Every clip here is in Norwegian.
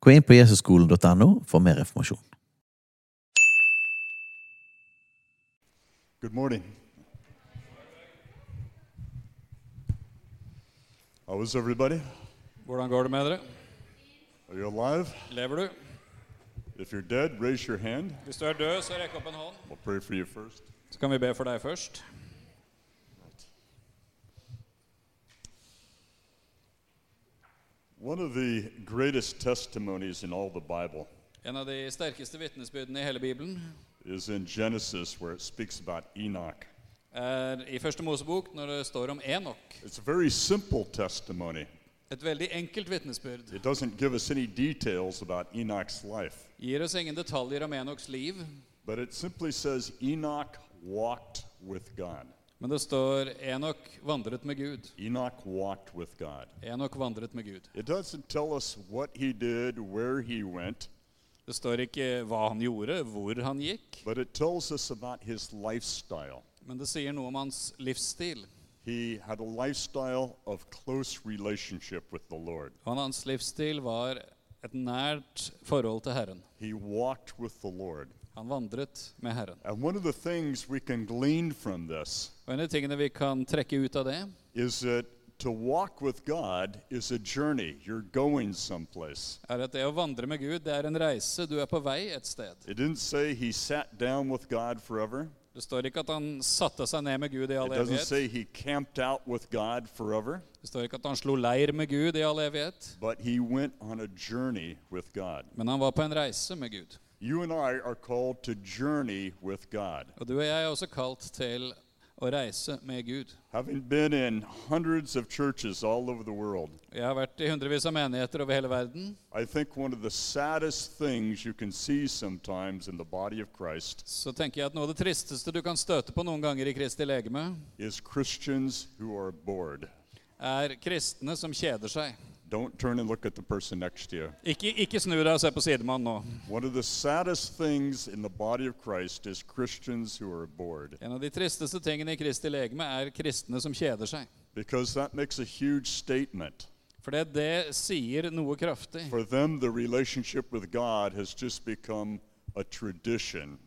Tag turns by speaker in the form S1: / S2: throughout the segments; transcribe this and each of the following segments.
S1: Gå inn på jesusskolen.no for mer informasjon.
S2: Good morning. How is everybody?
S3: Hvordan går det med dere?
S2: Are you alive?
S3: Lever du?
S2: If you're dead, raise your hand.
S3: Hvis du er død, så rekk opp en hånd.
S2: I'll pray for you first.
S3: Så kan vi be for deg først.
S2: One of the greatest testimonies in all the Bible
S3: En av de sterkeste vitnesbyrdene i hele Bibelen
S2: is in Genesis, where it speaks about Enoch.
S3: er i Første Mosebok når det står om Enok.
S2: It's a very simple testimony.
S3: Et veldig enkelt vitnesbyrd.
S2: It doesn't give us any details about Enoch's life,
S3: Gir oss ingen detaljer om Enoks liv,
S2: but it simply says Enoch walked with God.
S3: men det står Enok vandret med Gud.
S2: Enoch walked with God.
S3: Enok vandret med Gud.
S2: It doesn't tell us what he did, where he went.
S3: Det står ikke hva han gjorde, hvor han gikk,
S2: But it tells us about his lifestyle.
S3: men det sier noe om hans livsstil.
S2: He had a lifestyle of close relationship with the Lord.
S3: Og hans livsstil var et nært forhold til Herren.
S2: He walked with the Lord.
S3: Han vandret med Herren.
S2: And one of the things we can glean from this
S3: Og en av de tingene vi kan trekke ut av det,
S2: is that to walk with God is a journey. You're going someplace.
S3: er at det å vandre med Gud, det er en reise. Du er på vei et sted.
S2: It didn't say he sat down with God forever.
S3: Det står ikke at han satte seg ned med Gud i all
S2: It doesn't
S3: evighet.
S2: say he camped out with God forever,
S3: Det står ikke at han slo leir med Gud i all evighet.
S2: but he went on a journey with God.
S3: Men han var på en reise med Gud.
S2: You and I are called to journey with God.
S3: Og du og jeg er også kalt til å reise med Gud.
S2: Having been in hundreds of churches all over the world,
S3: Jeg har vært i hundrevis av menigheter over hele verden.
S2: I think one of the saddest things you can see sometimes in the body of Christ
S3: Så tenker jeg at noe av det tristeste du kan støte på noen ganger i Kristi legeme,
S2: is Christians who are bored.
S3: er kristne som kjeder seg.
S2: Don't turn and look at the person next to you.
S3: Ikke, ikke snu deg og se på sidemannen nå.
S2: One of the saddest things in the body of Christ is Christians who are bored
S3: En av de tristeste tingene i Kristi legeme er kristne som kjeder seg.
S2: because that makes a huge statement.
S3: For det, det sier noe kraftig.
S2: For them, the relationship with God has just become a tradition,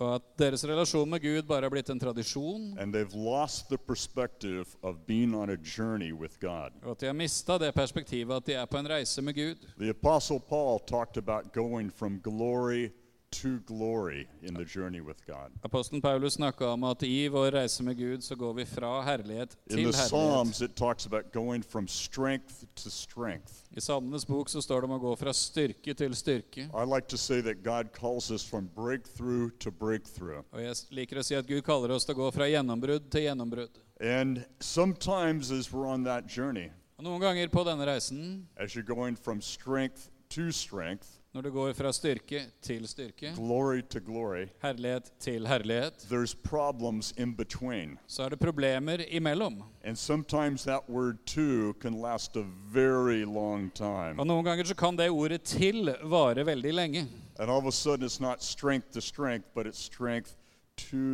S3: Og at deres relasjon med Gud bare er blitt en tradisjon,
S2: and they've lost the perspective of being on a journey with God.
S3: og at de har mista det perspektivet at de er på en reise med Gud.
S2: The Apostle Paul talked about going from glory to glory in the journey with God.
S3: Apostelen Paulus snakka om at i vår reise med Gud så går vi fra herlighet
S2: In the
S3: til herlighet.
S2: Psalms, it talks about going from strength to strength.
S3: I Salmenes bok så står det om å gå fra styrke til styrke.
S2: I like to say that God calls us from breakthrough to breakthrough.
S3: Og jeg s- liker å si at Gud kaller oss til å gå fra gjennombrudd til gjennombrudd.
S2: And sometimes, as we're on that journey,
S3: Og noen ganger på denne reisen,
S2: as you're going from strength to strength,
S3: når du går fra styrke til styrke,
S2: glory to glory,
S3: herlighet til herlighet,
S2: there's problems in between.
S3: så er det problemer imellom.
S2: And sometimes that word too can last a very long time.
S3: Og noen ganger så kan det ordet 'til' vare veldig lenge.
S2: And all of a sudden, it's not strength to strength, but it's strength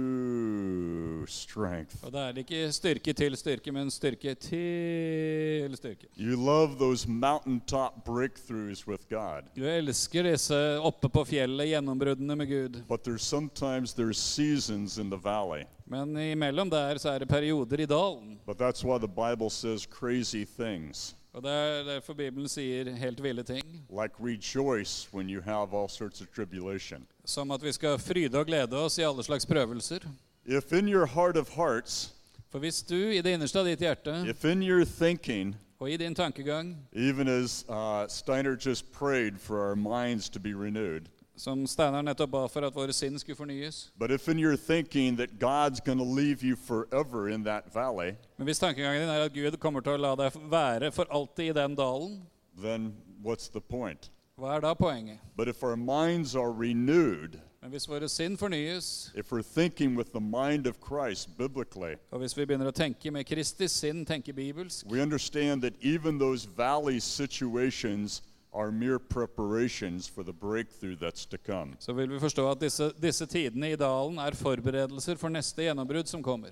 S2: to strength.
S3: Og da er det ikke styrke til styrke, men styrke til styrke.
S2: You love those mountaintop breakthroughs with God,
S3: Du elsker disse oppe på fjellet, gjennombruddene med Gud.
S2: but there's sometimes there's seasons in the valley.
S3: Men imellom der så er det perioder i dalen.
S2: But that's why the Bible says crazy things,
S3: Og det er derfor Bibelen sier helt ville ting.
S2: like rejoice when you have all sorts of tribulation.
S3: Som at vi skal fryde og glede oss i alle slags prøvelser.
S2: If in your heart of hearts,
S3: For hvis du i det innerste av ditt hjerte
S2: if in your thinking,
S3: og i din tankegang,
S2: even as uh, Steiner just prayed for our minds to be renewed,
S3: som Steinar nettopp ba for at våre sinn skulle fornyes
S2: But if in your thinking that God's going to leave you forever in that valley,
S3: Men hvis tankegangen din er at Gud kommer til å la deg være for alltid i den dalen,
S2: then what's the point?
S3: Hva er da poenget?
S2: But if our minds are renewed,
S3: Men hvis våre sinn fornyes,
S2: if we're thinking with the mind of Christ biblically,
S3: og hvis vi begynner å tenke med Kristis sinn, tenke bibelsk,
S2: we understand that even those valley situations are mere preparations for the breakthrough that's to come.
S3: så vil vi forstå at disse, disse tidene i dalen er forberedelser for neste gjennombrudd som kommer.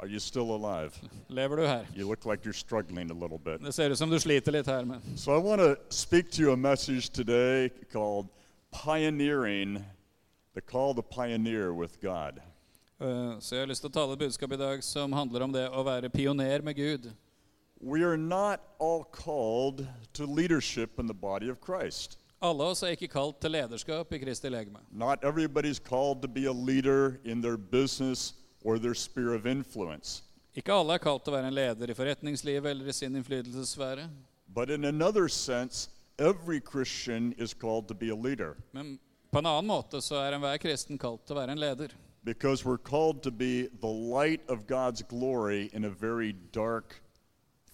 S2: Are you still alive?
S3: Lever du her?
S2: You look like you're struggling a little bit.
S3: Det ser ut som du sliter litt her, men
S2: So I want to speak to you a message today called Pioneering the Call to Pioneer with God.
S3: øh, Så jeg har lyst til å tale et budskap i dag som handler om det å være pioner med Gud.
S2: We are not all called to leadership in the body of Christ.
S3: Alle oss er ikke kalt til lederskap i Kristi legeme.
S2: Not everybody's called to be a leader in their business or their sphere of influence.
S3: Ikke alle er kalt til å være en leder i forretningslivet eller i sin innflytelsessfære.
S2: But in another sense, every Christian is called to be a leader
S3: Men på en annen måte så er enhver kristen kalt til å være en leder.
S2: because we're called to be the light of God's glory in a very dark,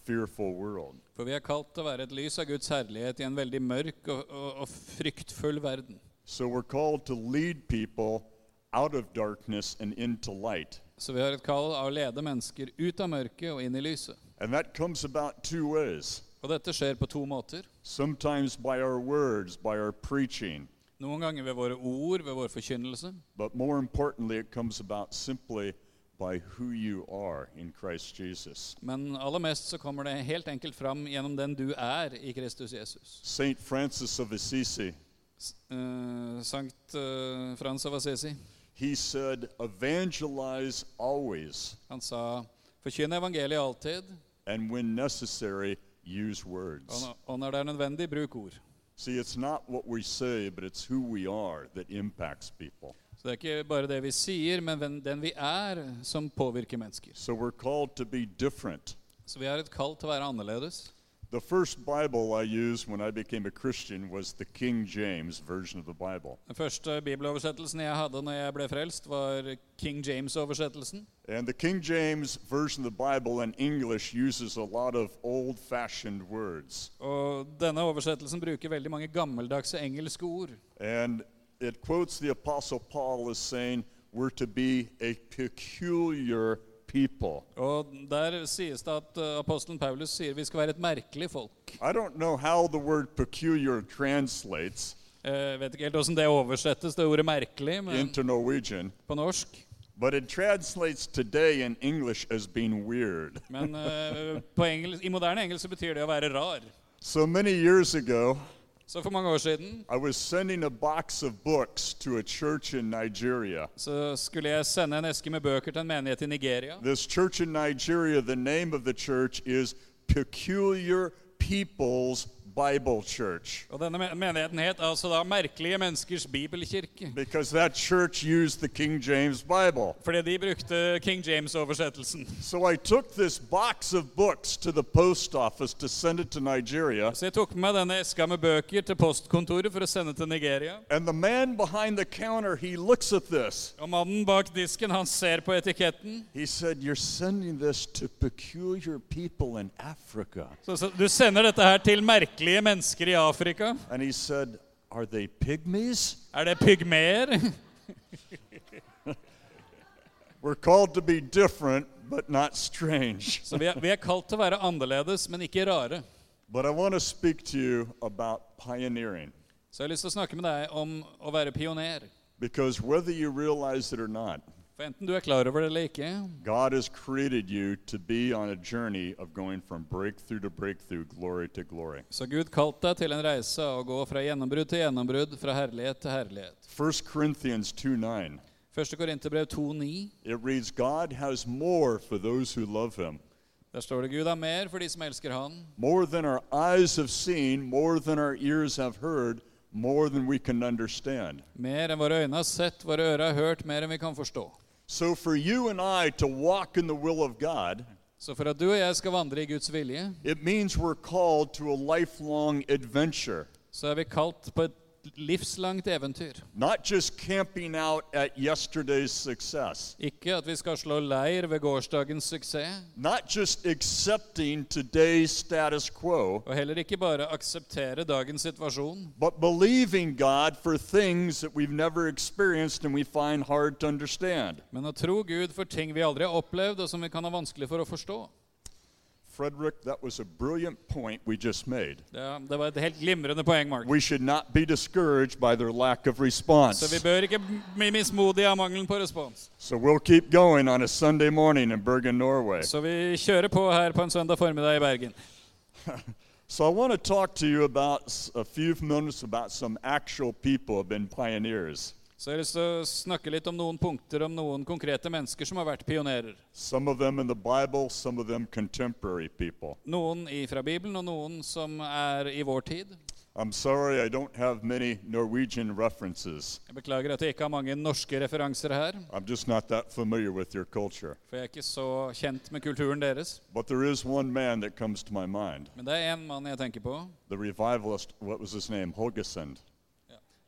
S2: fearful world.
S3: For vi er kalt til å være et lys av Guds herlighet i en veldig mørk og, og, og fryktfull verden.
S2: So we're called to lead people out of darkness and into light.
S3: Så vi har et kall av å lede mennesker ut av mørket og inn i lyset.
S2: And that comes about two ways
S3: Og dette skjer på to måter.
S2: sometimes by our words, by our preaching,
S3: Noen ganger ved våre ord, ved vår forkynnelse.
S2: but more importantly, it comes about simply by who you are in Christ Jesus.
S3: Men aller mest så kommer det helt enkelt fram gjennom den du er i Kristus Jesus.
S2: St. Francis of Assisi,
S3: S eh, Sankt eh, Frans av Assisi,
S2: he said, evangelize always,
S3: han sa Forkynn evangeliet alltid,
S2: and when necessary, use
S3: og
S2: words.
S3: når- og når det er nødvendig, bruk ord.
S2: See, it's not what we say, but it's who we are that impacts people.
S3: Så det er ikke bare det vi sier, men hvem- den vi er, som påvirker mennesker.
S2: So we're called to be different.
S3: Så vi har et kall til å være annerledes.
S2: The first Bible I used when I became a Christian was the King James version of the Bible.
S3: Den første bibeloversettelsen jeg hadde når jeg ble frelst, var King James-oversettelsen.
S2: And the King James version of the Bible in English uses a lot of old fashioned words.
S3: Og denne oversettelsen bruker veldig mange gammeldagse engelske ord.
S2: And it quotes the Apostle Paul as saying, We're to be a peculiar people.
S3: Og der sies det at eh, apostelen Paulus sier vi skal være et merkelig folk.
S2: I don't know how the word peculiar translates
S3: Eh, vet ikke helt åssen det oversettes, det ordet 'merkelig' men
S2: into Norwegian,
S3: på norsk.
S2: but it translates today in English as being weird.
S3: Men eh, på engels, i moderne engelsk så betyr det å være rar.
S2: So many years ago,
S3: Så for mange år siden
S2: I was sending a box of books to a church in Nigeria.
S3: så skulle jeg sende en eske med bøker til en menighet i Nigeria.
S2: This church in Nigeria, the name of the church is Peculiar People's Bible Church
S3: Og denne men- menigheten het altså da 'Merkelige menneskers bibelkirke'.
S2: because that church used the King James Bible.
S3: Fordi de brukte King James-oversettelsen.
S2: So I took this box of books to the post office to send it to Nigeria.
S3: Så jeg tok med denne eska med bøker til postkontoret for å sende til Nigeria.
S2: And the man behind the counter, he looks at this.
S3: Og mannen bak disken, han ser på etiketten.
S2: He said, You're sending this to peculiar people in Africa.
S3: Så, så du sender dette her til merkelige mennesker i Afrika.
S2: And he said, Are they pygmies?
S3: Er det pygmeer?
S2: We're called to be different, but not strange.
S3: Så vi er, vi er kalt til å være annerledes, men ikke rare.
S2: But I want to speak to you about pioneering.
S3: Så jeg har lyst til å snakke med deg om å være pioner.
S2: Because whether you realize it or not,
S3: For enten du er klar over det eller ikke,
S2: God has created you to be on a journey of going from breakthrough to breakthrough, glory to glory.
S3: så Gud kalt deg til en reise å gå fra gjennombrudd til gjennombrudd, fra herlighet til herlighet.
S2: 1 Corinthians 2 9,
S3: 1. Korinterbrev 2,9.
S2: it reads, God has more for those who love him,
S3: Der står det Gud har mer for de som elsker Han.
S2: more than our eyes have seen, more than our ears have heard, more than we can understand.
S3: Mer enn våre øyne har sett, våre ører har hørt, mer enn vi kan forstå.
S2: So for you and I to walk in the will of God,
S3: Så for at du og jeg skal vandre i Guds vilje,
S2: It means we're called to a lifelong adventure.
S3: så er vi kalt på et livslangt eventyr.
S2: Not just camping out at yesterday's success,
S3: Ikke at vi skal slå leir ved gårsdagens suksess,
S2: not just accepting today's status quo,
S3: og heller ikke bare akseptere dagens situasjon,
S2: but believing God for things that we've never experienced and we find hard to understand.
S3: men å tro Gud for ting vi aldri har opplevd, og som vi kan ha vanskelig for å forstå.
S2: Frederick, that was a brilliant point we just made.
S3: Det, det var et helt glimrende poeng, Mark.
S2: We should not be discouraged by their lack of
S3: Så vi
S2: response.
S3: bør ikke bli mismodige av mangelen på respons.
S2: So we'll keep going on a Sunday morning in Bergen, Norway.
S3: Så vi kjører på her på en søndag formiddag i Bergen.
S2: So I want to talk to you about s- a few minutes about some actual people who have been pioneers.
S3: Så jeg har lyst til å snakke litt om noen punkter om noen konkrete mennesker som har vært pionerer.
S2: Some of them in the Bible, some of them contemporary people.
S3: Noen i fra Bibelen, og noen som er i vår tid.
S2: I'm sorry I don't have many Norwegian references.
S3: Jeg beklager at jeg ikke har mange norske referanser her,
S2: I'm just not that familiar with your culture.
S3: for jeg er ikke så kjent med kulturen deres.
S2: But there is one man that comes to my mind,
S3: Men det er én mann jeg tenker på.
S2: the revivalist, what was his name? Holgesund.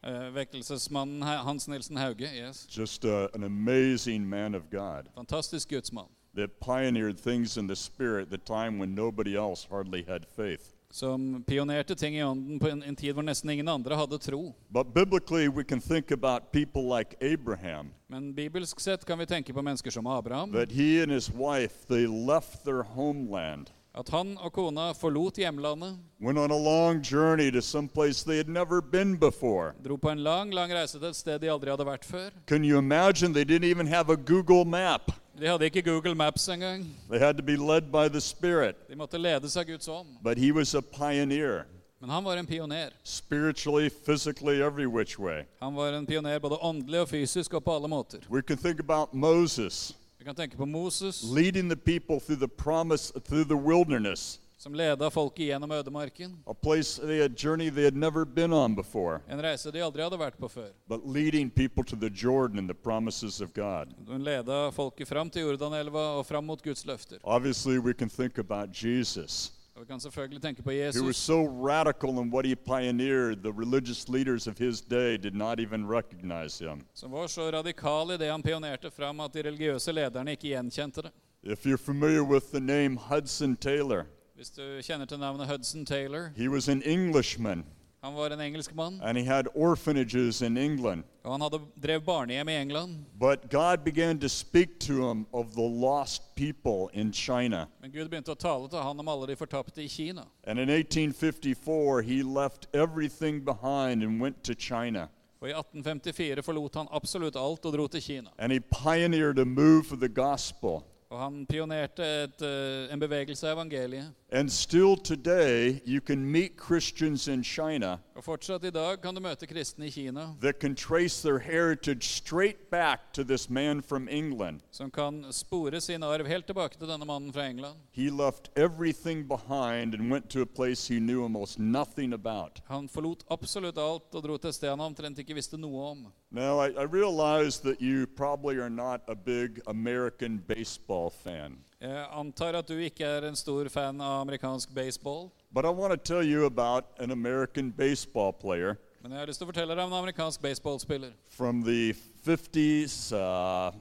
S3: Eh, vekkelsesmannen Ha- Hans Nilsen Hauge. yes.
S2: Just uh, an amazing man of God
S3: Fantastisk gudsmann.
S2: that pioneered things in the spirit at the time when nobody else hardly had faith.
S3: Som pionerte ting i ånden på en, en tid hvor nesten ingen andre hadde tro.
S2: But biblically, we can think about people like Abraham,
S3: Men bibelsk sett kan vi tenke på mennesker som Abraham.
S2: that he and his wife, they left their homeland,
S3: At han og kona forlot hjemlandet,
S2: went on a long journey to some place they had never been before.
S3: dro på en lang lang reise til et sted de aldri hadde vært før.
S2: Can you imagine? They didn't even have a Google map.
S3: De hadde ikke Google Maps engang.
S2: They had to be led by the Spirit.
S3: De måtte ledes av Guds ånd.
S2: But he was a pioneer,
S3: Men han var en pioner.
S2: spiritually, physically, every which way.
S3: Han var en pioner både åndelig og fysisk og på alle måter.
S2: We can think about Moses
S3: Vi kan tenke på Moses,
S2: leading the people through the promise, through the wilderness,
S3: som leda folket gjennom ødemarken.
S2: a place they had journey they had never been on before.
S3: En reise de aldri hadde vært på før.
S2: but leading people to the Jordan and the promises of God.
S3: Hun leda folket fram til Jordanelva og fram mot Guds løfter.
S2: Obviously, we can think about Jesus,
S3: Og vi kan selvfølgelig tenke på
S2: who was
S3: Jesus,
S2: so radical in what he pioneered, the religious leaders of his day did not even recognize him.
S3: som var så radikal i det han pionerte fram at de religiøse lederne ikke gjenkjente det.
S2: If you're familiar with the name Hudson Taylor,
S3: Hvis du kjenner til navnet Hudson Taylor,
S2: he was an Englishman
S3: han var en engelskmann,
S2: and he had orphanages in England.
S3: og han hadde drev barnehjem i England.
S2: But God began to speak to him of the lost people in China.
S3: Men Gud begynte å tale til han om alle de fortapte i Kina.
S2: And in 1854, he left everything behind and went to China.
S3: Og i 1854 forlot han absolutt alt og dro til Kina.
S2: and he pioneered a move for the gospel.
S3: Og han pionerte et, eh, en bevegelse av evangeliet.
S2: And still today, you can meet Christians in China
S3: Og fortsatt i dag kan du møte kristne i Kina
S2: that can trace their heritage straight back to this man from England.
S3: som kan spore sin arv helt tilbake til denne mannen fra England.
S2: He left everything behind and went to a place he knew almost nothing about.
S3: Han forlot absolutt alt og dro til et sted han omtrent ikke visste noe om.
S2: Now, I, I realize that you probably are not a big American baseball fan,
S3: Jeg antar at du ikke er en stor fan av amerikansk baseball,
S2: but I want to tell you about an American baseball player
S3: men jeg har lyst til å fortelle deg om en amerikansk baseballspiller.
S2: from the 50s, uh,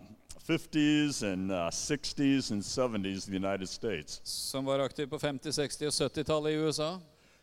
S2: 50s and uh, 60s and 70s in the United States.
S3: som var aktiv på 50-, 60- og 70-tallet i USA.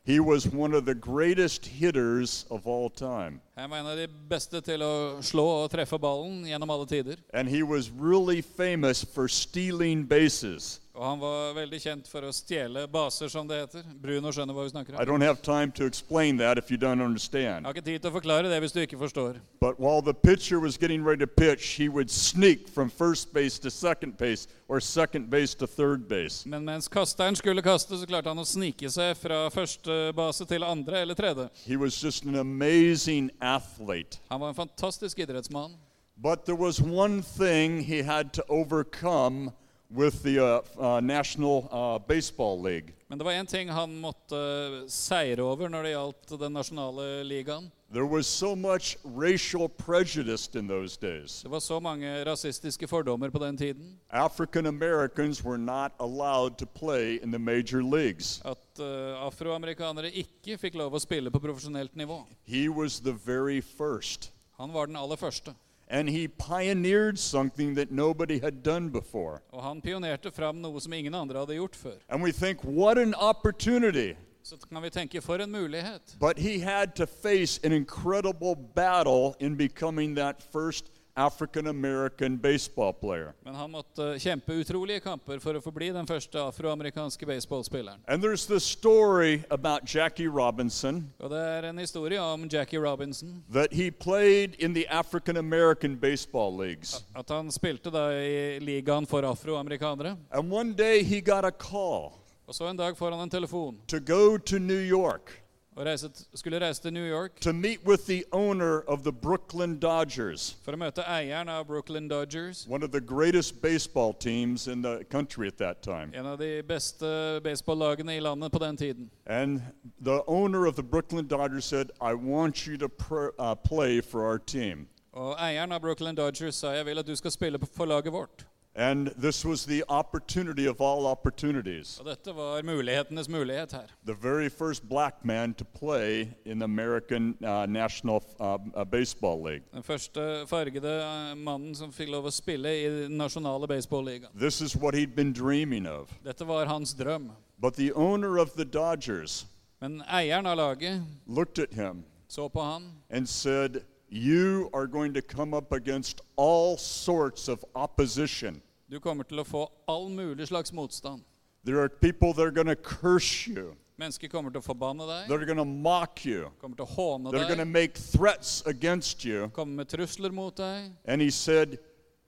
S2: He was one of the greatest hitters of all time,
S3: Jeg mener de beste til å slå og treffe ballen gjennom alle tider.
S2: and he was really famous for stealing bases.
S3: Og han var veldig kjent for å stjele baser, som det heter. Bruno skjønner hva vi snakker
S2: I
S3: om.
S2: don't have time to explain that if you don't
S3: Jeg
S2: understand.
S3: har ikke tid til å forklare det hvis du ikke forstår.
S2: But while the pitcher was getting ready to pitch, he would sneak from first base to second base or second base to third base.
S3: Men mens kasteren skulle kaste, så klarte han å snike seg fra første base til andre eller tredje.
S2: He was just an amazing athlete.
S3: Han var en fantastisk idrettsmann.
S2: But there was one thing he had to overcome with the uh, uh, National uh, Baseball League.
S3: Men det var én ting han måtte seire over når det gjaldt den nasjonale ligaen.
S2: There was so much racial prejudice in those days.
S3: Det var så mange rasistiske fordommer på den tiden
S2: African Americans were not allowed to play in the major leagues.
S3: at eh, afroamerikanere ikke fikk lov å spille på profesjonelt nivå.
S2: He was the very first.
S3: Han var den aller første.
S2: And he pioneered something that nobody had done before.
S3: Og han pionerte fram noe som ingen andre hadde gjort før.
S2: And we think, what an opportunity.
S3: Så kan vi tenke for en mulighet.
S2: But he had to face an incredible battle in becoming that first African American baseball player.
S3: Men han måtte eh, kjempe utrolige kamper for å forbli den første afroamerikanske baseballspilleren.
S2: And there's this story about Jackie Robinson
S3: Og det er en historie om Jackie Robinson.
S2: that he played in the African American baseball leagues.
S3: At han spilte da i ligaen for afroamerikanere.
S2: And one day he got a call
S3: Og så en dag får han en telefon
S2: to go to New York
S3: og reise t skulle reise til New York
S2: to meet with the owner of the Brooklyn Dodgers,
S3: for å møte eieren av Brooklyn Dodgers.
S2: one of the greatest baseball teams in the country at that time.
S3: En av de beste baseballagene i landet på den tiden.
S2: And the owner of the Brooklyn Dodgers said, I want you to pr- uh, play for our team.
S3: Og eieren av Brooklyn Dodgers sa jeg vil at du skal spille på- for laget vårt.
S2: And this was the opportunity of all opportunities.
S3: Og dette var mulighetenes mulighet her.
S2: The very first black man to play in the American uh, National uh, uh, Baseball League.
S3: Den første fargede eh, mannen som fikk lov å spille i den nasjonale baseballligaen.
S2: This is what he'd been dreaming of.
S3: Dette var hans drøm.
S2: But the owner of the Dodgers
S3: Men eieren av laget
S2: looked at him
S3: så på han
S2: and said, You are going to come up against all sorts of opposition.
S3: Du kommer til å få all mulig slags motstand.
S2: There are people that are going to curse you,
S3: Mennesker kommer til å forbanne deg,
S2: that are going to mock you,
S3: kommer til å håne
S2: that are going to
S3: deg,
S2: make threats against you.
S3: komme med trusler mot deg.
S2: And he said,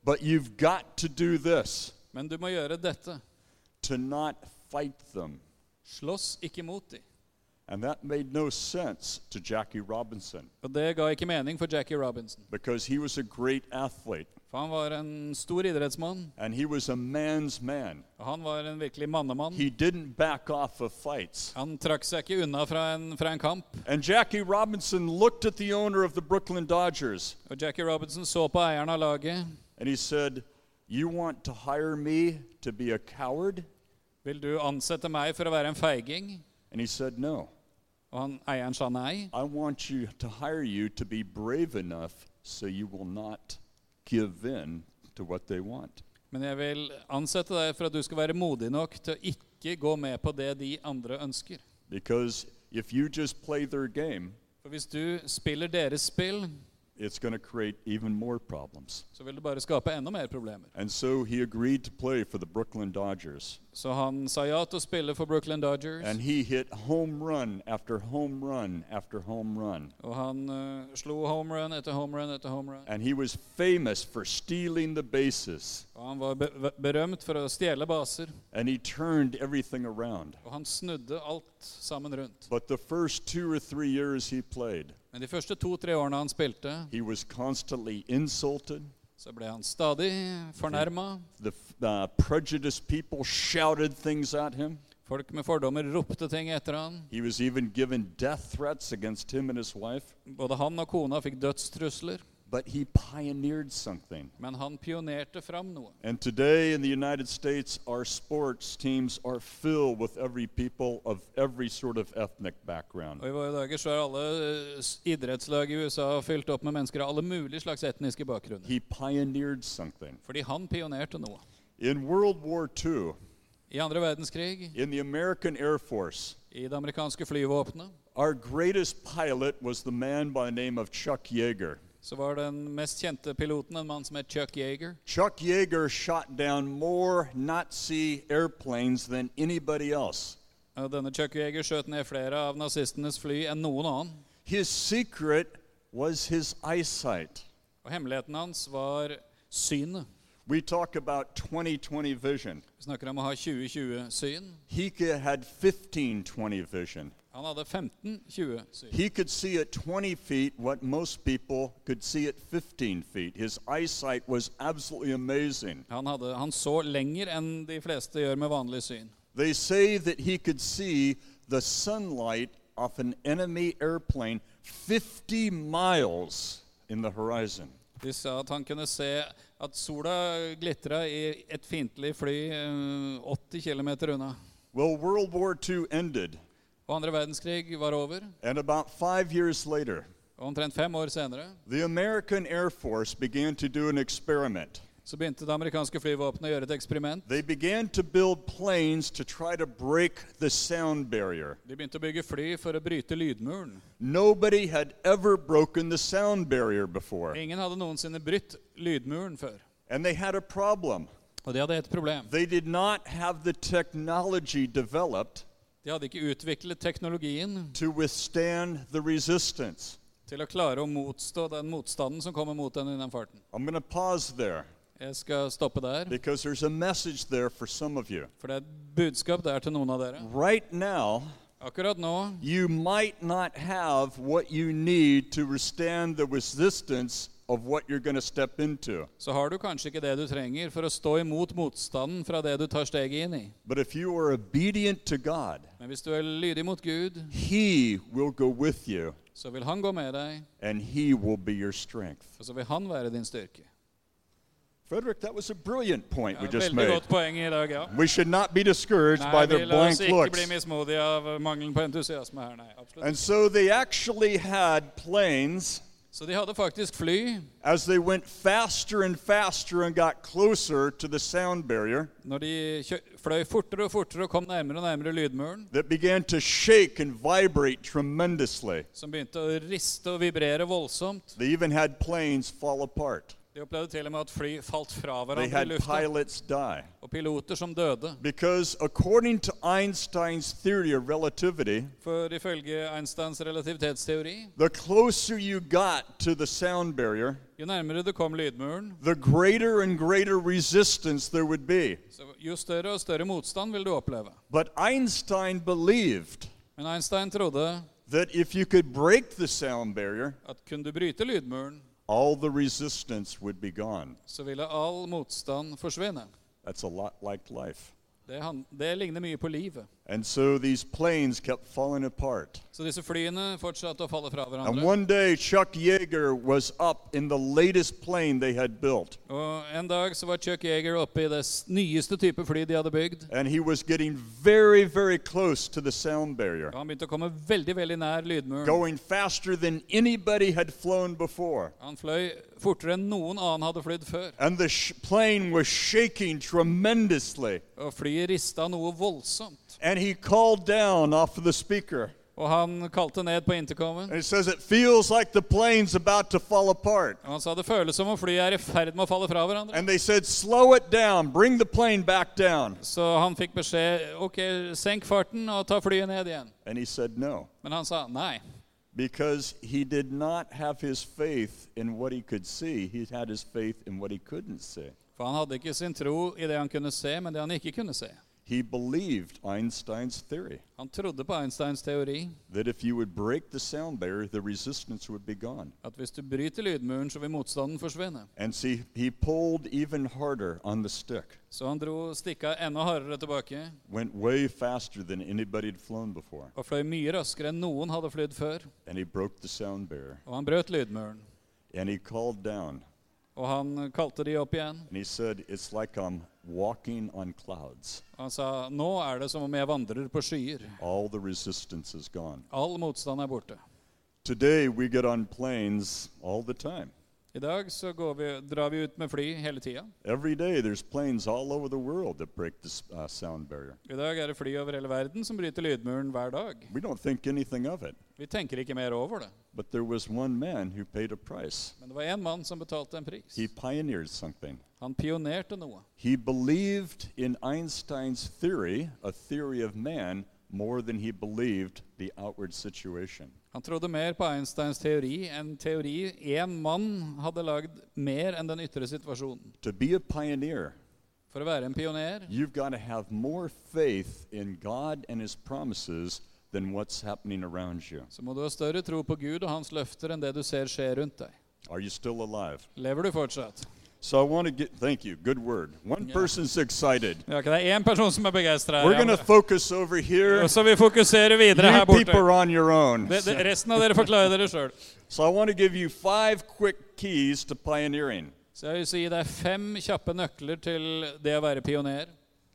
S2: But you've got to do this
S3: Men du må gjøre dette.
S2: to not fight them.
S3: Slåss ikke mot dem.
S2: And that made no sense to Jackie Robinson
S3: Og det ga ikke mening for Jackie Robinson.
S2: because he was a great athlete
S3: For han var en stor idrettsmann,
S2: and he was a man's man.
S3: og han var en virkelig mannemann.
S2: He didn't back off of fights.
S3: Han trakk seg ikke unna fra en, fra en kamp.
S2: And Jackie Robinson looked at the owner of the Brooklyn Dodgers
S3: Og Jackie Robinson så på eieren av laget.
S2: and he said, You want to hire me to be a coward?
S3: Vil du ansette meg for å være en feiging?
S2: And he said, No.
S3: Og han, eieren sa nei.
S2: I want you to hire you to be brave enough so you will not give in to what they want.
S3: Men jeg vil ansette deg for at du skal være modig nok til å ikke gå med på det de andre ønsker.
S2: Because if you just play their game,
S3: For hvis du spiller deres spill,
S2: it's going to create even more problems.
S3: så vil du bare skape enda mer problemer.
S2: And so he agreed to play for the Brooklyn Dodgers.
S3: Så han sa ja til å spille for Brooklyn Dodgers.
S2: And he hit home run after home run after home run.
S3: og han eh, slo home run etter home run etter home run.
S2: And he was famous for stealing the bases.
S3: Og han var be be- berømt for å stjele baser.
S2: And he turned everything around.
S3: Og han snudde alt sammen rundt.
S2: But the first two or three years he played,
S3: Men de første to-tre årene han spilte,
S2: he was constantly insulted.
S3: så ble han stadig fornærma.
S2: The uh, prejudiced people shouted things at him.
S3: Folk med fordommer ropte ting etter han.
S2: He was even given death threats against him and his wife.
S3: Både han og kona fikk dødstrusler,
S2: But he pioneered something.
S3: men han pionerte fram noe.
S2: And today in the United States, our sports teams are filled with every people of every sort of ethnic background.
S3: Og I våre dager så er alle eh, s- idrettslag i USA fylt opp med mennesker av alle mulige slags etniske bakgrunner.
S2: He pioneered something.
S3: Fordi han pionerte noe.
S2: In World War II,
S3: I andre verdenskrig,
S2: in the American Air Force,
S3: i det amerikanske flyvåpenet,
S2: our greatest pilot was the man by the name of Chuck Yeager.
S3: så var den mest kjente piloten en mann som het Chuck Yeager.
S2: Chuck Yeager shot down more Nazi airplanes than anybody else.
S3: Og Denne Chuck Yeager skjøt ned flere av nazistenes fly enn noen annen.
S2: His secret was his eyesight.
S3: Og hemmeligheten hans var synet.
S2: We talk about 20/20 vision.
S3: Vi snakker om å ha 2020-syn.
S2: He ca- had 15/20 vision.
S3: Han hadde 15-20 syn.
S2: He could see at 20 feet what most people could see at 15 feet. His eyesight was absolutely amazing.
S3: Han, hadde, han så lenger enn de fleste gjør med vanlig syn.
S2: They say that he could see the sunlight off an enemy airplane 50 miles in the horizon.
S3: De sa at han kunne se at sola glitra i et fiendtlig fly eh, 80 km unna.
S2: Well, World War II ended,
S3: Og andre verdenskrig var over.
S2: and about five years later,
S3: Og omtrent fem år senere
S2: the American Air Force began to do an experiment.
S3: så begynte det amerikanske flyvåpenet å gjøre et eksperiment.
S2: They began to build planes to try to break the sound barrier.
S3: De begynte å bygge fly for å bryte lydmuren.
S2: Nobody had ever broken the sound barrier before,
S3: Ingen hadde noensinne brytt lydmuren før.
S2: and they had a problem.
S3: Og de hadde et problem.
S2: They did not have the technology developed
S3: De hadde ikke utviklet teknologien
S2: to withstand the resistance.
S3: til å klare å motstå den motstanden som kommer mot den i den farten.
S2: I'm going to pause there
S3: Jeg skal stoppe der,
S2: because there's a message there for some of you.
S3: for det er et budskap der til noen av dere.
S2: Right now,
S3: Akkurat nå
S2: you might not have what you need to withstand the resistance of what you're going to step into.
S3: så har du kanskje ikke det du trenger for å stå imot motstanden fra det du tar steget inn i.
S2: But if you are obedient to God,
S3: Men hvis du er lydig mot Gud,
S2: He will go with you
S3: så vil Han gå med deg,
S2: and He will be your strength.
S3: og så vil Han være din styrke.
S2: Frederick, that was a brilliant point
S3: Ja,
S2: we just
S3: veldig
S2: made.
S3: godt poeng i dag, ja.
S2: We should not be discouraged
S3: Nei,
S2: by
S3: vi
S2: their
S3: la oss
S2: blank
S3: ikke bli
S2: looks.
S3: mismodige av mangelen på entusiasme her, nei. absolutt.
S2: And so they actually had planes
S3: Så de hadde faktisk fly.
S2: as they went faster and faster and got closer to the sound barrier
S3: Når de kjø fløy fortere og fortere og kom nærmere og nærmere lydmuren,
S2: that began to shake and vibrate tremendously.
S3: som begynte å riste og vibrere voldsomt.
S2: They even had planes fall apart.
S3: De opplevde til og med at fly falt fra
S2: They
S3: hverandre i
S2: had
S3: lufta,
S2: pilots die.
S3: og piloter som døde.
S2: Because according to Einstein's theory of relativity,
S3: For ifølge Einsteins relativitetsteori,
S2: the closer you got to the sound barrier,
S3: jo nærmere du kom lydmuren,
S2: the greater and greater resistance there would be.
S3: så jo større og større motstand vil du oppleve.
S2: But Einstein believed
S3: Men Einstein trodde
S2: that if you could break the sound barrier,
S3: at kunne du bryte lydmuren,
S2: all the resistance would be gone.
S3: så ville all motstand forsvinne.
S2: That's a lot like life.
S3: Det, han, det ligner mye på livet.
S2: And so these planes kept falling apart.
S3: Så disse flyene fortsatte å falle fra
S2: And
S3: hverandre.
S2: one day, Chuck Yeager was up in the latest plane they had built,
S3: Og en dag så var Chuck Yeager oppe i det s- nyeste type fly de hadde bygd.
S2: and he was getting very, very close to the sound barrier,
S3: Og han begynte å komme veldig, veldig nær lydmuren.
S2: going faster than anybody had flown before.
S3: Han fløy fortere enn noen annen hadde flydd før.
S2: And the sh- plane was shaking tremendously.
S3: Og flyet rista noe voldsomt.
S2: And he called down off of the speaker.
S3: Og han kalte ned på intercomen.
S2: And he says, It feels like the plane's about to fall apart.
S3: Og han sa det føles som om flyet er i ferd med å falle fra hverandre.
S2: And they said, Slow it down. Bring the plane back down.
S3: Så han fikk beskjed ok, senk farten og ta flyet ned igjen.
S2: And he said, No,
S3: Men han sa nei.
S2: because he did not have his faith in what he could see. He had his faith in what he couldn't see.
S3: For han hadde ikke sin tro i det han kunne se, men det han ikke kunne se.
S2: He believed Einstein's theory
S3: Han trodde på Einsteins teori
S2: that if you would break the sound barrier, the resistance would be gone.
S3: at hvis du bryter lydmuren, så vil motstanden forsvinne.
S2: And see, he pulled even harder on the stick,
S3: Så han dro stikka enda hardere tilbake
S2: went way faster than anybody had flown before,
S3: og fløy mye raskere enn noen hadde flydd før.
S2: and he broke the sound barrier.
S3: Og han brøt lydmuren.
S2: And he called down,
S3: Og han kalte de opp igjen.
S2: and he said, It's like I'm walking on clouds.
S3: Og han sa nå er det som om jeg vandrer på skyer.
S2: All the resistance is gone.
S3: All motstand er borte.
S2: Today, we get on planes all the time.
S3: I dag så går vi, drar vi ut med fly hele tida.
S2: Every day, there's planes all over the world that break the uh, sound barrier.
S3: I dag er det fly over hele verden som bryter lydmuren hver dag.
S2: We don't think anything of it.
S3: Vi tenker ikke mer over det.
S2: But there was one man who paid a price.
S3: Men det var én mann som betalte en pris.
S2: He pioneered something.
S3: Han pionerte noe.
S2: He believed in Einstein's theory, a theory of man, more than he believed the outward situation.
S3: Han trodde mer på Einsteins teori enn teori én mann hadde lagd mer enn den ytre situasjonen.
S2: To be a pioneer,
S3: For å være en pioner
S2: you've got to have more faith in God and His promises than what's happening around you.
S3: så må du ha større tro på Gud og hans løfter enn det du ser skje rundt deg.
S2: Are you still alive?
S3: Lever du fortsatt?
S2: So I want to get, thank you, good word. One person's excited.
S3: Vi har ikke det er én person som er begeistra
S2: We're
S3: her.
S2: going to
S3: andre.
S2: focus over here.
S3: Så vi fokuserer videre
S2: You
S3: her borte.
S2: people are on your own.
S3: Det, det, resten av dere får klare dere sjøl.
S2: So I want to give you five quick keys to pioneering.
S3: Så jeg vil si det er fem kjappe nøkler til det å være pioner.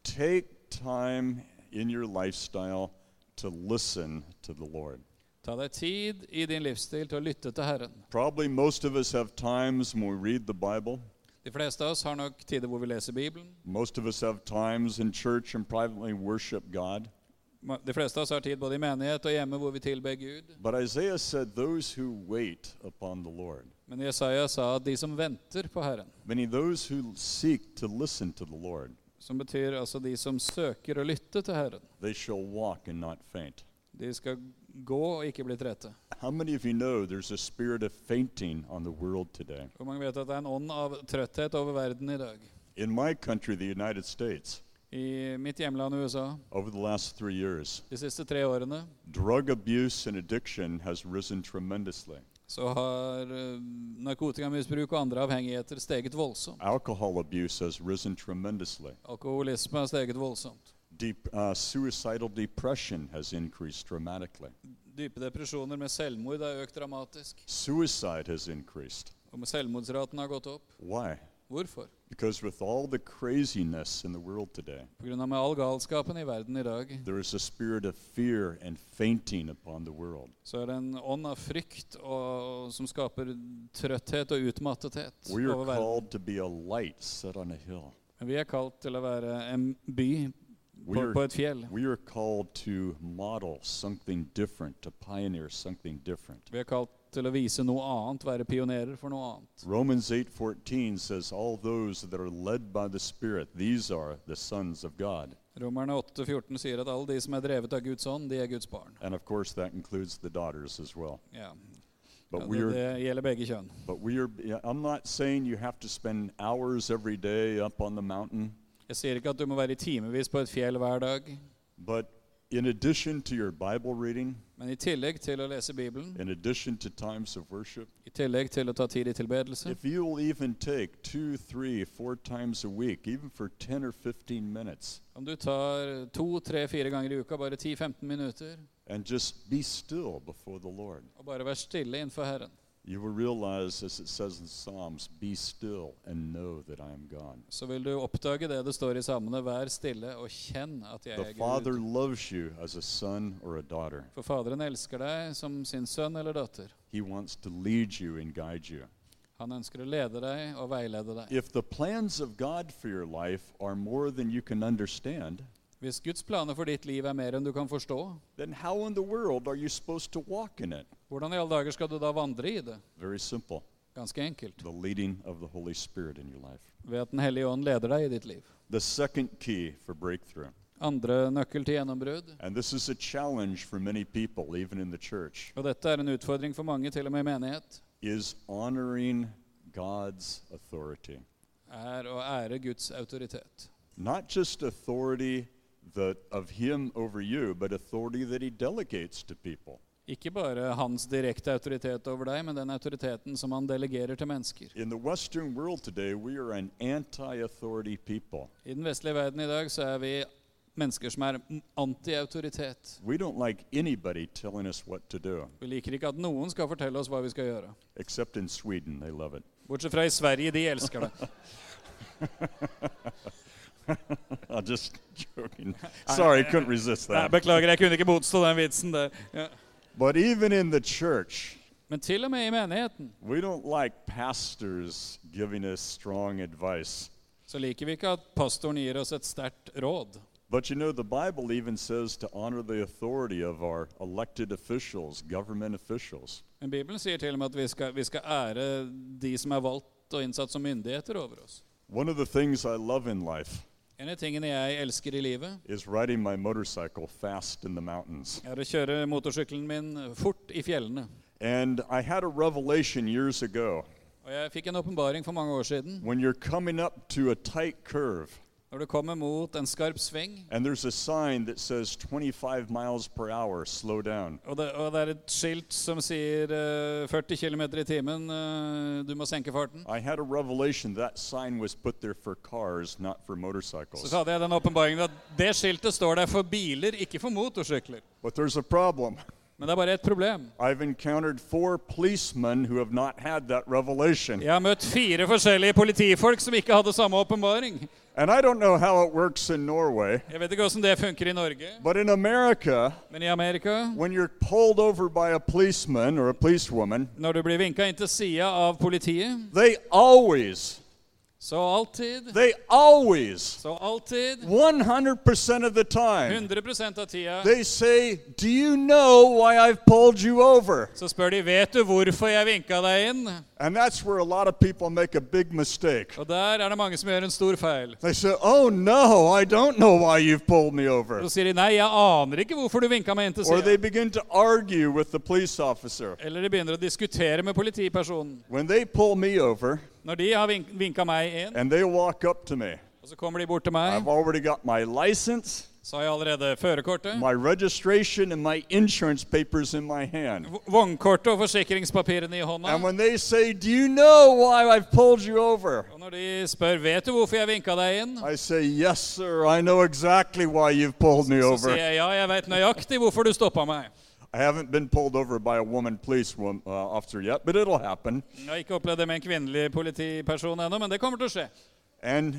S2: Take time in your lifestyle to listen to the Lord.
S3: Ta deg tid i din livsstil til å lytte til Herren.
S2: Probably most of us have times when we read the Bible.
S3: De fleste av oss har nok tider hvor vi leser Bibelen.
S2: Most of us have times in church and privately worship God.
S3: Ma- De fleste av oss har tid både i menighet og hjemme hvor vi tilber Gud.
S2: But Isaiah said, Those who wait upon the Lord,
S3: Men Jesaja sa at de som venter på Herren,
S2: many those who seek to listen to the Lord,
S3: som betyr altså de som søker å lytte til Herren,
S2: they shall walk and not faint.
S3: de skal gå og ikke bli trette.
S2: How many of you know there's a spirit of fainting on the world today?
S3: Hvor mange vet at det er en ånd av trøtthet over verden i dag?
S2: In my country, the United States,
S3: I mitt hjemland USA
S2: over the last three years,
S3: de siste tre årene
S2: drug abuse and addiction has risen tremendously.
S3: så har eh, narkotikamisbruk og andre avhengigheter steget voldsomt.
S2: Alcohol abuse has risen tremendously.
S3: Alkoholisme har steget voldsomt.
S2: Deep, uh, suicidal depression has increased dramatically.
S3: Dype depresjoner med selvmord har økt dramatisk.
S2: Suicide has increased.
S3: Og med selvmordsraten har gått opp.
S2: Why?
S3: Hvorfor?
S2: Because with all the craziness in the world today,
S3: Pga. med all galskapen i verden i dag
S2: there is a spirit of fear and fainting upon the world.
S3: så er det en ånd av frykt og, som skaper trøtthet og utmattethet
S2: We are
S3: over verden.
S2: called to be a light set on a hill.
S3: Men vi er kalt til å være en by
S2: We
S3: på,
S2: are,
S3: på et fjell.
S2: we are called to model something different, to pioneer something different.
S3: Vi er kalt til å vise noe annet, være pionerer for noe annet.
S2: Romans 8:14 says all those that are led by the spirit these are the sons of God.
S3: Romerne 8,14 sier at alle de som er drevet av Guds ånd, de er Guds barn.
S2: And of course that includes the daughters as well.
S3: Ja.
S2: But
S3: Ja,
S2: we
S3: det,
S2: are
S3: det gjelder begge kjønn.
S2: but we are yeah, I'm not saying you have to spend hours every day up on the mountain,
S3: Jeg sier ikke at du må være i timevis på et fjell hver dag,
S2: but in addition to your Bible reading,
S3: men i tillegg til å lese Bibelen,
S2: in addition to times of worship,
S3: i tillegg til å ta tid i tilbedelse,
S2: if you will even take two, three, four times a week, even for 10 or 15 minutes,
S3: om du tar to, tre, fire ganger i uka, bare 10-15 minutter,
S2: and just be still before the Lord,
S3: og bare vær stille innenfor Herren,
S2: you will realize, as it says in Psalms, be still and know that I am God.
S3: så vil du oppdage det det står i salmene, vær stille og kjenn at jeg
S2: The
S3: er
S2: Father
S3: Gud.
S2: loves you as a son or a daughter.
S3: For Faderen elsker deg som sin sønn eller datter.
S2: He wants to lead you and guide you.
S3: Han ønsker å lede deg og veilede deg.
S2: If the plans of God for your life are more than you can understand,
S3: Hvis Guds planer for ditt liv er mer enn du kan forstå,
S2: then how in the world are you supposed to walk in it?
S3: hvordan i alle dager skal du da vandre i det?
S2: Very simple
S3: Ganske enkelt.
S2: the leading of the Holy Spirit in your life.
S3: Ved at Den hellige ånd leder deg i ditt liv.
S2: The second key for breakthrough,
S3: Andre nøkkel til gjennombrudd.
S2: and this is a challenge for many people, even in the church,
S3: Og dette er en utfordring for mange, til og med i menighet,
S2: is honoring God's authority.
S3: er å ære Guds autoritet.
S2: Not just authority that of Him over you, but authority that He delegates to people.
S3: Ikke bare hans direkte autoritet over deg, men den autoriteten som han delegerer til mennesker.
S2: In the Western world today, we are an anti authority people.
S3: I den vestlige verden i dag så er vi mennesker som er anti-autoritet.
S2: We don't like anybody telling us what to do,
S3: Vi liker ikke at noen skal fortelle oss hva vi skal gjøre.
S2: except in Sweden, they love it.
S3: Bortsett fra i Sverige, de elsker det.
S2: I'm just joking. Sorry, I couldn't resist
S3: Nei,
S2: that.
S3: beklager, jeg kunne ikke motstå den vitsen der. Ja.
S2: But even in the church,
S3: Men til og med i menigheten
S2: we don't like pastors giving us strong advice.
S3: så liker vi ikke at pastoren gir oss et sterkt råd.
S2: But you know, the Bible even says to honor the authority of our elected officials, government officials.
S3: Men Bibelen sier til og med at vi skal, vi skal ære de som er valgt og innsatt som myndigheter over oss.
S2: One of the things I love in life
S3: En av tingene jeg elsker i livet,
S2: is riding my motorcycle fast in the mountains.
S3: er å kjøre motorsykkelen min fort i fjellene.
S2: And I had a revelation years ago.
S3: Og jeg fikk en åpenbaring for mange år siden.
S2: When you're coming up to a tight curve,
S3: Når du kommer mot en skarp sving,
S2: and there's a sign that says 25 miles per hour, slow down.
S3: og det, og det er et skilt som sier eh, 40 km i timen, eh, du må senke farten,
S2: I had a revelation that sign was put there for cars, not for
S3: så
S2: motorcycles.
S3: hadde jeg den åpenbaringen at det skiltet står der for biler, ikke for motorsykler.
S2: But there's a problem.
S3: Men det er bare ett problem.
S2: I've encountered four policemen who have not had that revelation.
S3: Jeg har møtt fire forskjellige politifolk som ikke hadde samme åpenbaring.
S2: And I don't know how it works in Norway,
S3: Jeg vet ikke åssen det funker i Norge,
S2: but in America,
S3: men i Amerika
S2: when you're pulled over by a policeman or a policewoman,
S3: når du blir vinka inn til sida av politiet,
S2: they always,
S3: så alltid
S2: they always,
S3: Så alltid
S2: 100% of the time,
S3: 100 av tida
S2: they say, Do you know why I've pulled you over?
S3: så spør de vet du hvorfor jeg vinka deg inn.
S2: And that's where a lot of people make a big mistake.
S3: Og der er det mange som gjør en stor feil.
S2: They say, Oh no, I don't know why you've pulled me over.
S3: Så sier de nei, jeg aner ikke hvorfor du vinka meg inn til
S2: Or they
S3: sida.
S2: begin to argue with the police officer.
S3: Eller de begynner å diskutere med politipersonen.
S2: When they pull me over
S3: Når de har vink vinka meg inn,
S2: and they walk up to me,
S3: og så kommer de bort til meg,
S2: I've already got my license,
S3: så har jeg allerede førerkortet.
S2: my registration, and my insurance papers in my hand.
S3: v- Vognkortet og forsikringspapirene i hånda.
S2: And when they say, Do you know why I've pulled you over?
S3: Og når de spør vet du hvorfor jeg vinka deg inn,
S2: I say, Yes, sir, I know exactly why you've pulled me
S3: så
S2: over.
S3: sier jeg ja, jeg veit nøyaktig hvorfor du stoppa meg.
S2: I haven't been pulled over by a woman police wom- uh, officer yet, but it'll happen.
S3: Jeg har ikke opplevd det med en kvinnelig politiperson ennå, men det kommer til å skje.
S2: And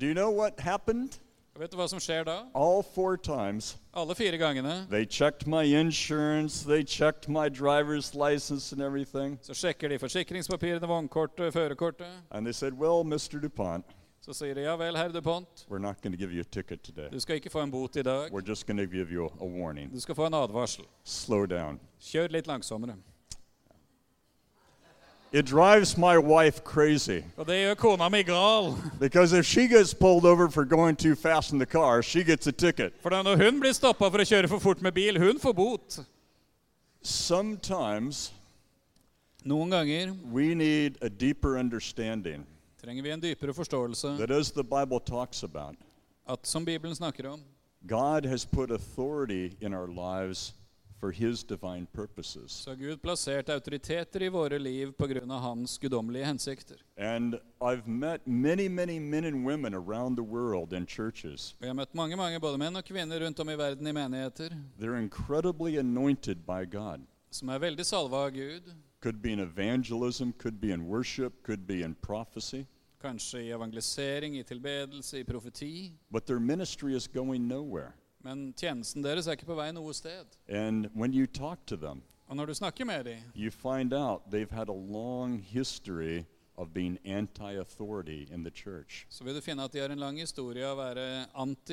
S2: do you know what happened?
S3: Og vet du hva som skjer da?
S2: All four times,
S3: Alle fire gangene
S2: they checked my insurance, they checked my driver's license and everything.
S3: så sjekker de forsikringspapirene, vognkortet, førerkortet.
S2: And they said, Well, Mr. DuPont,
S3: Så sier de ja vel, herr DuPont,
S2: we're not going to give you a ticket today.
S3: du skal ikke få en bot i dag.
S2: We're just going to give you a warning.
S3: Du skal få en advarsel.
S2: Slow down.
S3: Kjør litt langsommere.
S2: It drives my wife crazy
S3: Og det gjør kona mi gal.
S2: because if she gets pulled over for going too fast in the car, she gets a ticket.
S3: For da når hun blir stoppa for å kjøre for fort med bil, hun får bot.
S2: Sometimes
S3: Noen ganger
S2: we need a deeper understanding
S3: trenger vi en dypere forståelse
S2: that, as the Bible talks about,
S3: at som Bibelen snakker om,
S2: God has put authority in our lives for His divine purposes.
S3: så har Gud plassert autoriteter i våre liv pga. hans guddommelige hensikter.
S2: And I've met many, many men and women around the world in churches.
S3: Og jeg har møtt mange, mange både menn og kvinner rundt om i verden i menigheter
S2: They're incredibly anointed by God.
S3: som er veldig salva av Gud.
S2: Could be in evangelism, could be in worship, could be in prophecy,
S3: Kanskje i evangelisering, i tilbedelse, i profeti.
S2: but their ministry is going nowhere.
S3: Men tjenesten deres er ikke på vei noe sted.
S2: And when you talk to them,
S3: Og når du snakker med dem,
S2: you find out they've had a long history of being anti authority in the church
S3: så vil du finne at de har en lang historie av å være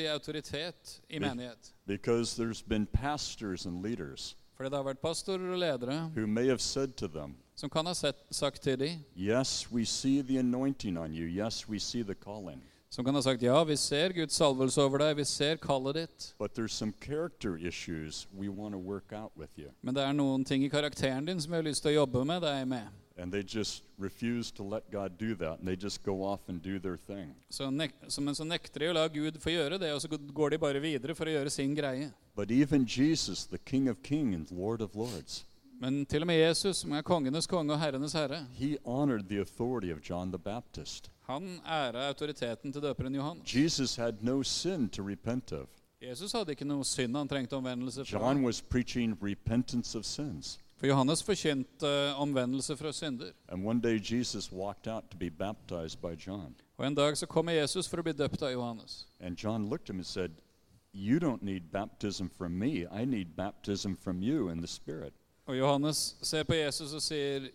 S3: anti-autoritet i menighet.
S2: because there's been pastors and leaders
S3: Fordi det har vært pastorer og ledere
S2: who may have said to them,
S3: som kan ha sett, sagt til dem,
S2: Yes, we see the anointing on you. Yes, we see the calling.
S3: som kan ha sagt ja, vi ser Guds salvelse over deg, vi ser kallet ditt.
S2: But there's some character issues we want to work out with you.
S3: Men det er noen ting i karakteren din som jeg har lyst til å jobbe med deg med.
S2: And they just refuse to let God do that, and they just go off and do their thing.
S3: Så nek så, men så nekter de å la Gud få gjøre det, og så går de bare videre for å gjøre sin greie.
S2: But even Jesus, the King of Kings and Lord of Lords,
S3: Men til og med Jesus, som er kongenes konge og herrenes herre,
S2: he honored the authority of John the Baptist.
S3: han æra autoriteten til døperen Johannes.
S2: Jesus had no sin to repent of.
S3: Jesus hadde ikke noe synd han trengte omvendelse fra.
S2: John was preaching repentance of sins.
S3: For Johannes forkynte eh, omvendelse fra synder.
S2: And one day Jesus walked out to be baptized by John.
S3: Og en dag så kommer Jesus for å bli døpt av Johannes.
S2: And John looked at him and said, You don't need baptism from me. I need baptism from you in the Spirit.
S3: Og Johannes ser på Jesus og sier,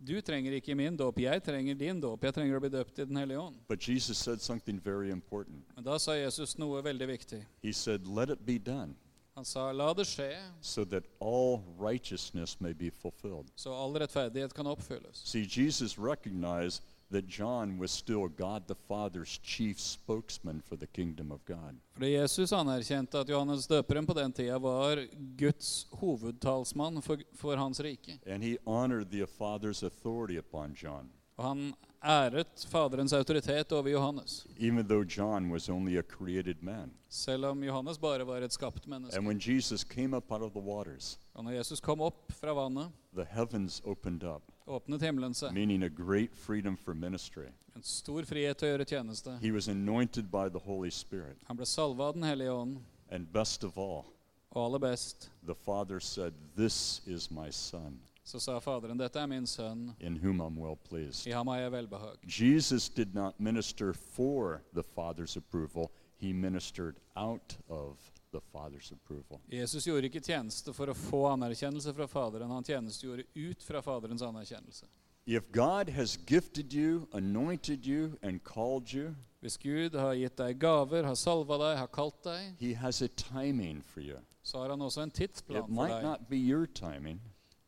S3: du trenger ikke min dåp, jeg trenger din dåp, jeg trenger å bli døpt i Den hellige ånd.
S2: But Jesus said something very important.
S3: Men da sa Jesus noe veldig viktig.
S2: He said, Let it be done,
S3: Han sa, la det skje,
S2: so that all righteousness may be fulfilled.
S3: så all rettferdighet kan oppfylles.
S2: See, Jesus recognized that John was still God the Father's chief spokesman for the kingdom of God.
S3: Fordi Jesus anerkjente at Johannes døperen på den tida var Guds hovedtalsmann for, for hans rike.
S2: And he honored the Father's authority upon John.
S3: Og Og han æret Faderens autoritet over Johannes,
S2: even though John was only a created man.
S3: selv om Johannes bare var et skapt menneske.
S2: And when Jesus came up out of the waters,
S3: Og når Jesus kom opp fra vannet,
S2: the heavens opened up,
S3: åpnet himmelen seg.
S2: meaning a great freedom for ministry.
S3: En stor frihet til å gjøre tjeneste.
S2: He was anointed by the Holy Spirit.
S3: Han ble salva av Den hellige ånd,
S2: And best of all,
S3: og aller best
S2: the Father said, This is my Son,
S3: så sa Faderen, dette er min sønn,
S2: in whom I'm well pleased.
S3: i ham har jeg velbehag.
S2: Jesus did not minister for the Father's approval, he ministered out of the Father's approval.
S3: Jesus gjorde ikke tjeneste for å få anerkjennelse fra Faderen, han tjenestegjorde ut fra Faderens anerkjennelse.
S2: If God has gifted you, anointed you, and called you,
S3: Hvis Gud har gitt deg gaver, har salva deg, har kalt deg,
S2: he has a timing for you.
S3: så har han også en tidsplan
S2: It
S3: for
S2: might
S3: deg.
S2: not be your timing,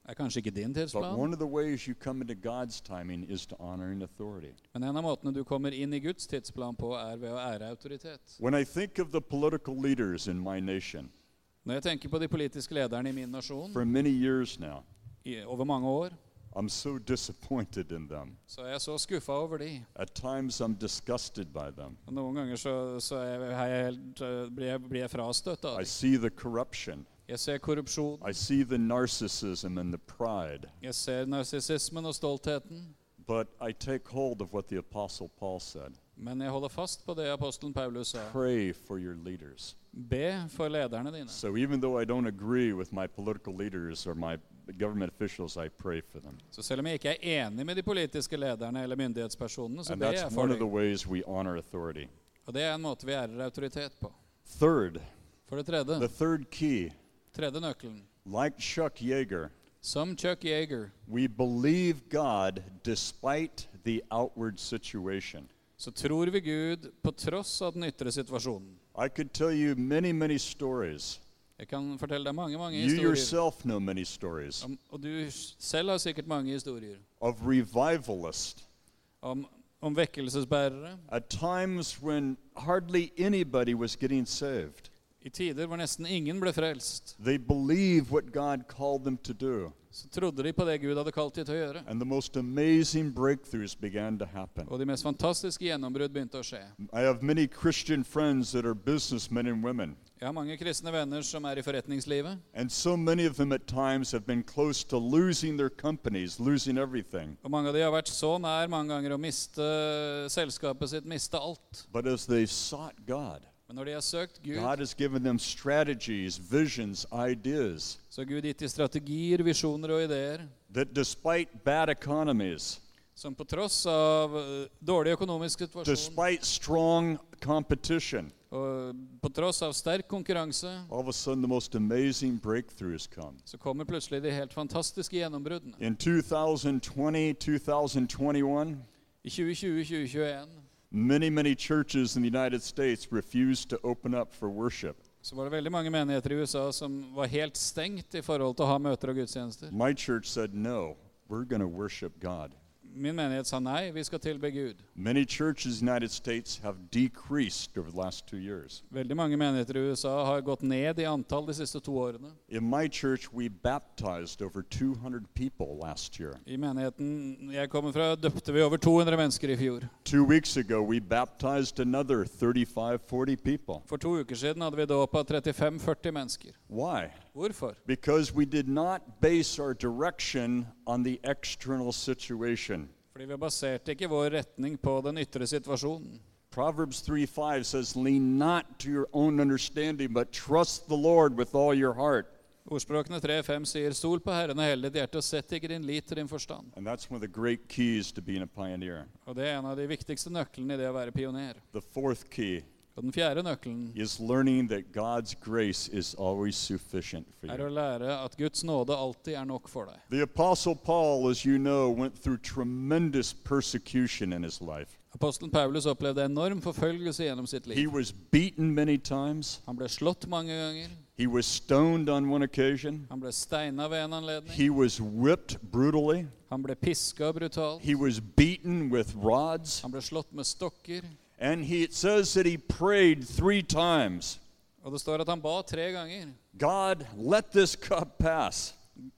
S3: Det er kanskje ikke din
S2: but
S3: tidsplan,
S2: one of the ways you come into God's timing is to honor and authority.
S3: men en av måtene du kommer inn i Guds tidsplan på, er ved å ære autoritet.
S2: When I think of the political leaders in my nation,
S3: Når jeg tenker på de politiske lederne i min nasjon
S2: for many years now,
S3: i, over mange år,
S2: I'm so disappointed in them.
S3: så er jeg så skuffa over de.
S2: At times I'm disgusted by them.
S3: Og Noen ganger så, så er jeg, er jeg helt, øh, blir, jeg, blir jeg frastøtt av
S2: I
S3: det.
S2: see the corruption.
S3: Jeg ser korrupsjon,
S2: I see the narcissism and the pride.
S3: jeg ser narsissismen og stoltheten,
S2: But I take hold of what the Apostle Paul said
S3: men jeg holder fast på det apostelen Paulus sa.
S2: pray for your leaders.
S3: Be for lederne dine.
S2: So even though I don't agree with my political leaders or my government officials, I pray for them.
S3: Så selv om jeg ikke er enig med de politiske lederne eller myndighetspersonene, så
S2: And
S3: ber
S2: that's
S3: jeg
S2: one
S3: for
S2: of the
S3: dem.
S2: ways we honor authority.
S3: Og det er en måte vi ærer autoritet på.
S2: Third,
S3: For det
S2: the
S3: tredje,
S2: third key,
S3: tredje nøkkelen.
S2: like Chuck Yeager,
S3: Som Chuck Yeager
S2: we believe God despite the outward situation.
S3: så tror vi Gud på tross av den ytre situasjonen.
S2: I could tell you many, many stories.
S3: Jeg kan fortelle deg mange, mange
S2: You
S3: historier.
S2: yourself know many stories
S3: Om, og du s- selv har sikkert mange historier
S2: of revivalists.
S3: om, om vekkelsesbærere
S2: At times when hardly anybody was getting saved,
S3: i tider hvor nesten ingen ble frelst.
S2: they believed what God called them to do,
S3: Så trodde de på det Gud hadde kalt de til å gjøre.
S2: and the most amazing breakthroughs began to happen.
S3: Og de mest fantastiske gjennombrudd begynte å skje.
S2: I have many Christian friends that are businessmen and women,
S3: Jeg har mange kristne venner som er i forretningslivet.
S2: and so many of them at times have been close to losing their companies, losing everything.
S3: Og mange av de har vært så nær mange ganger å miste eh, selskapet sitt, miste alt.
S2: But as they've sought God,
S3: Men når de har søkt
S2: God
S3: Gud,
S2: has given them strategies, visions, ideas
S3: så har Gud gitt de strategier, visjoner og ideer
S2: that despite bad economies,
S3: som på tross av eh, dårlig økonomisk situasjon
S2: despite strong competition,
S3: og eh, på tross av sterk konkurranse,
S2: all of a sudden the most amazing breakthroughs come.
S3: så kommer plutselig de helt fantastiske gjennombruddene.
S2: In 2020, 2021,
S3: I 2020-2021
S2: many, many churches in the United States refused to open up for worship.
S3: så var det veldig mange menigheter i USA som var helt stengt i forhold til å ha møter og gudstjenester.
S2: My church said, no, we're going to worship God.
S3: Min menighet sa nei, vi skal tilbe Gud.
S2: Many churches in the United States have decreased over the last two years.
S3: Veldig mange menigheter i USA har gått ned i antall de siste to årene.
S2: In my church, we baptized over 200 people last year.
S3: I menigheten jeg kommer fra, døpte vi over 200 mennesker i fjor.
S2: Two weeks ago, we baptized another 35, 40 people.
S3: For to uker siden hadde vi dåp av 35-40 mennesker.
S2: Why?
S3: Hvorfor?
S2: Because we did not base our direction on the external situation.
S3: Fordi vi baserte ikke vår retning på den ytre situasjonen.
S2: Proverbs 3 5 says, Lean not to your own understanding, but trust the Lord with all your heart.
S3: Ordspråkene 3.5 sier Stol på Herren og hell ditt hjerte, og sett ikke din lit til din forstand.
S2: And that's one of the great keys to being a pioneer.
S3: Og det er en av de viktigste nøklene i det å være pioner.
S2: The fourth key
S3: Og den fjerde nøkkelen
S2: is learning that God's grace is always sufficient for
S3: er å
S2: you.
S3: lære at Guds nåde alltid er nok for deg.
S2: The Apostle Paul, as you know, went through tremendous persecution in his life.
S3: Apostelen Paulus opplevde enorm forfølgelse gjennom sitt
S2: He
S3: liv.
S2: was beaten many times,
S3: Han ble slått mange ganger.
S2: he was stoned on one occasion,
S3: Han ble steina ved en anledning.
S2: he was whipped brutally,
S3: Han ble piska brutalt.
S2: he was beaten with rods,
S3: Han ble slått med stokker.
S2: and he, it says that he prayed three times
S3: Og det står at han ba tre ganger.
S2: God, let this cup pass.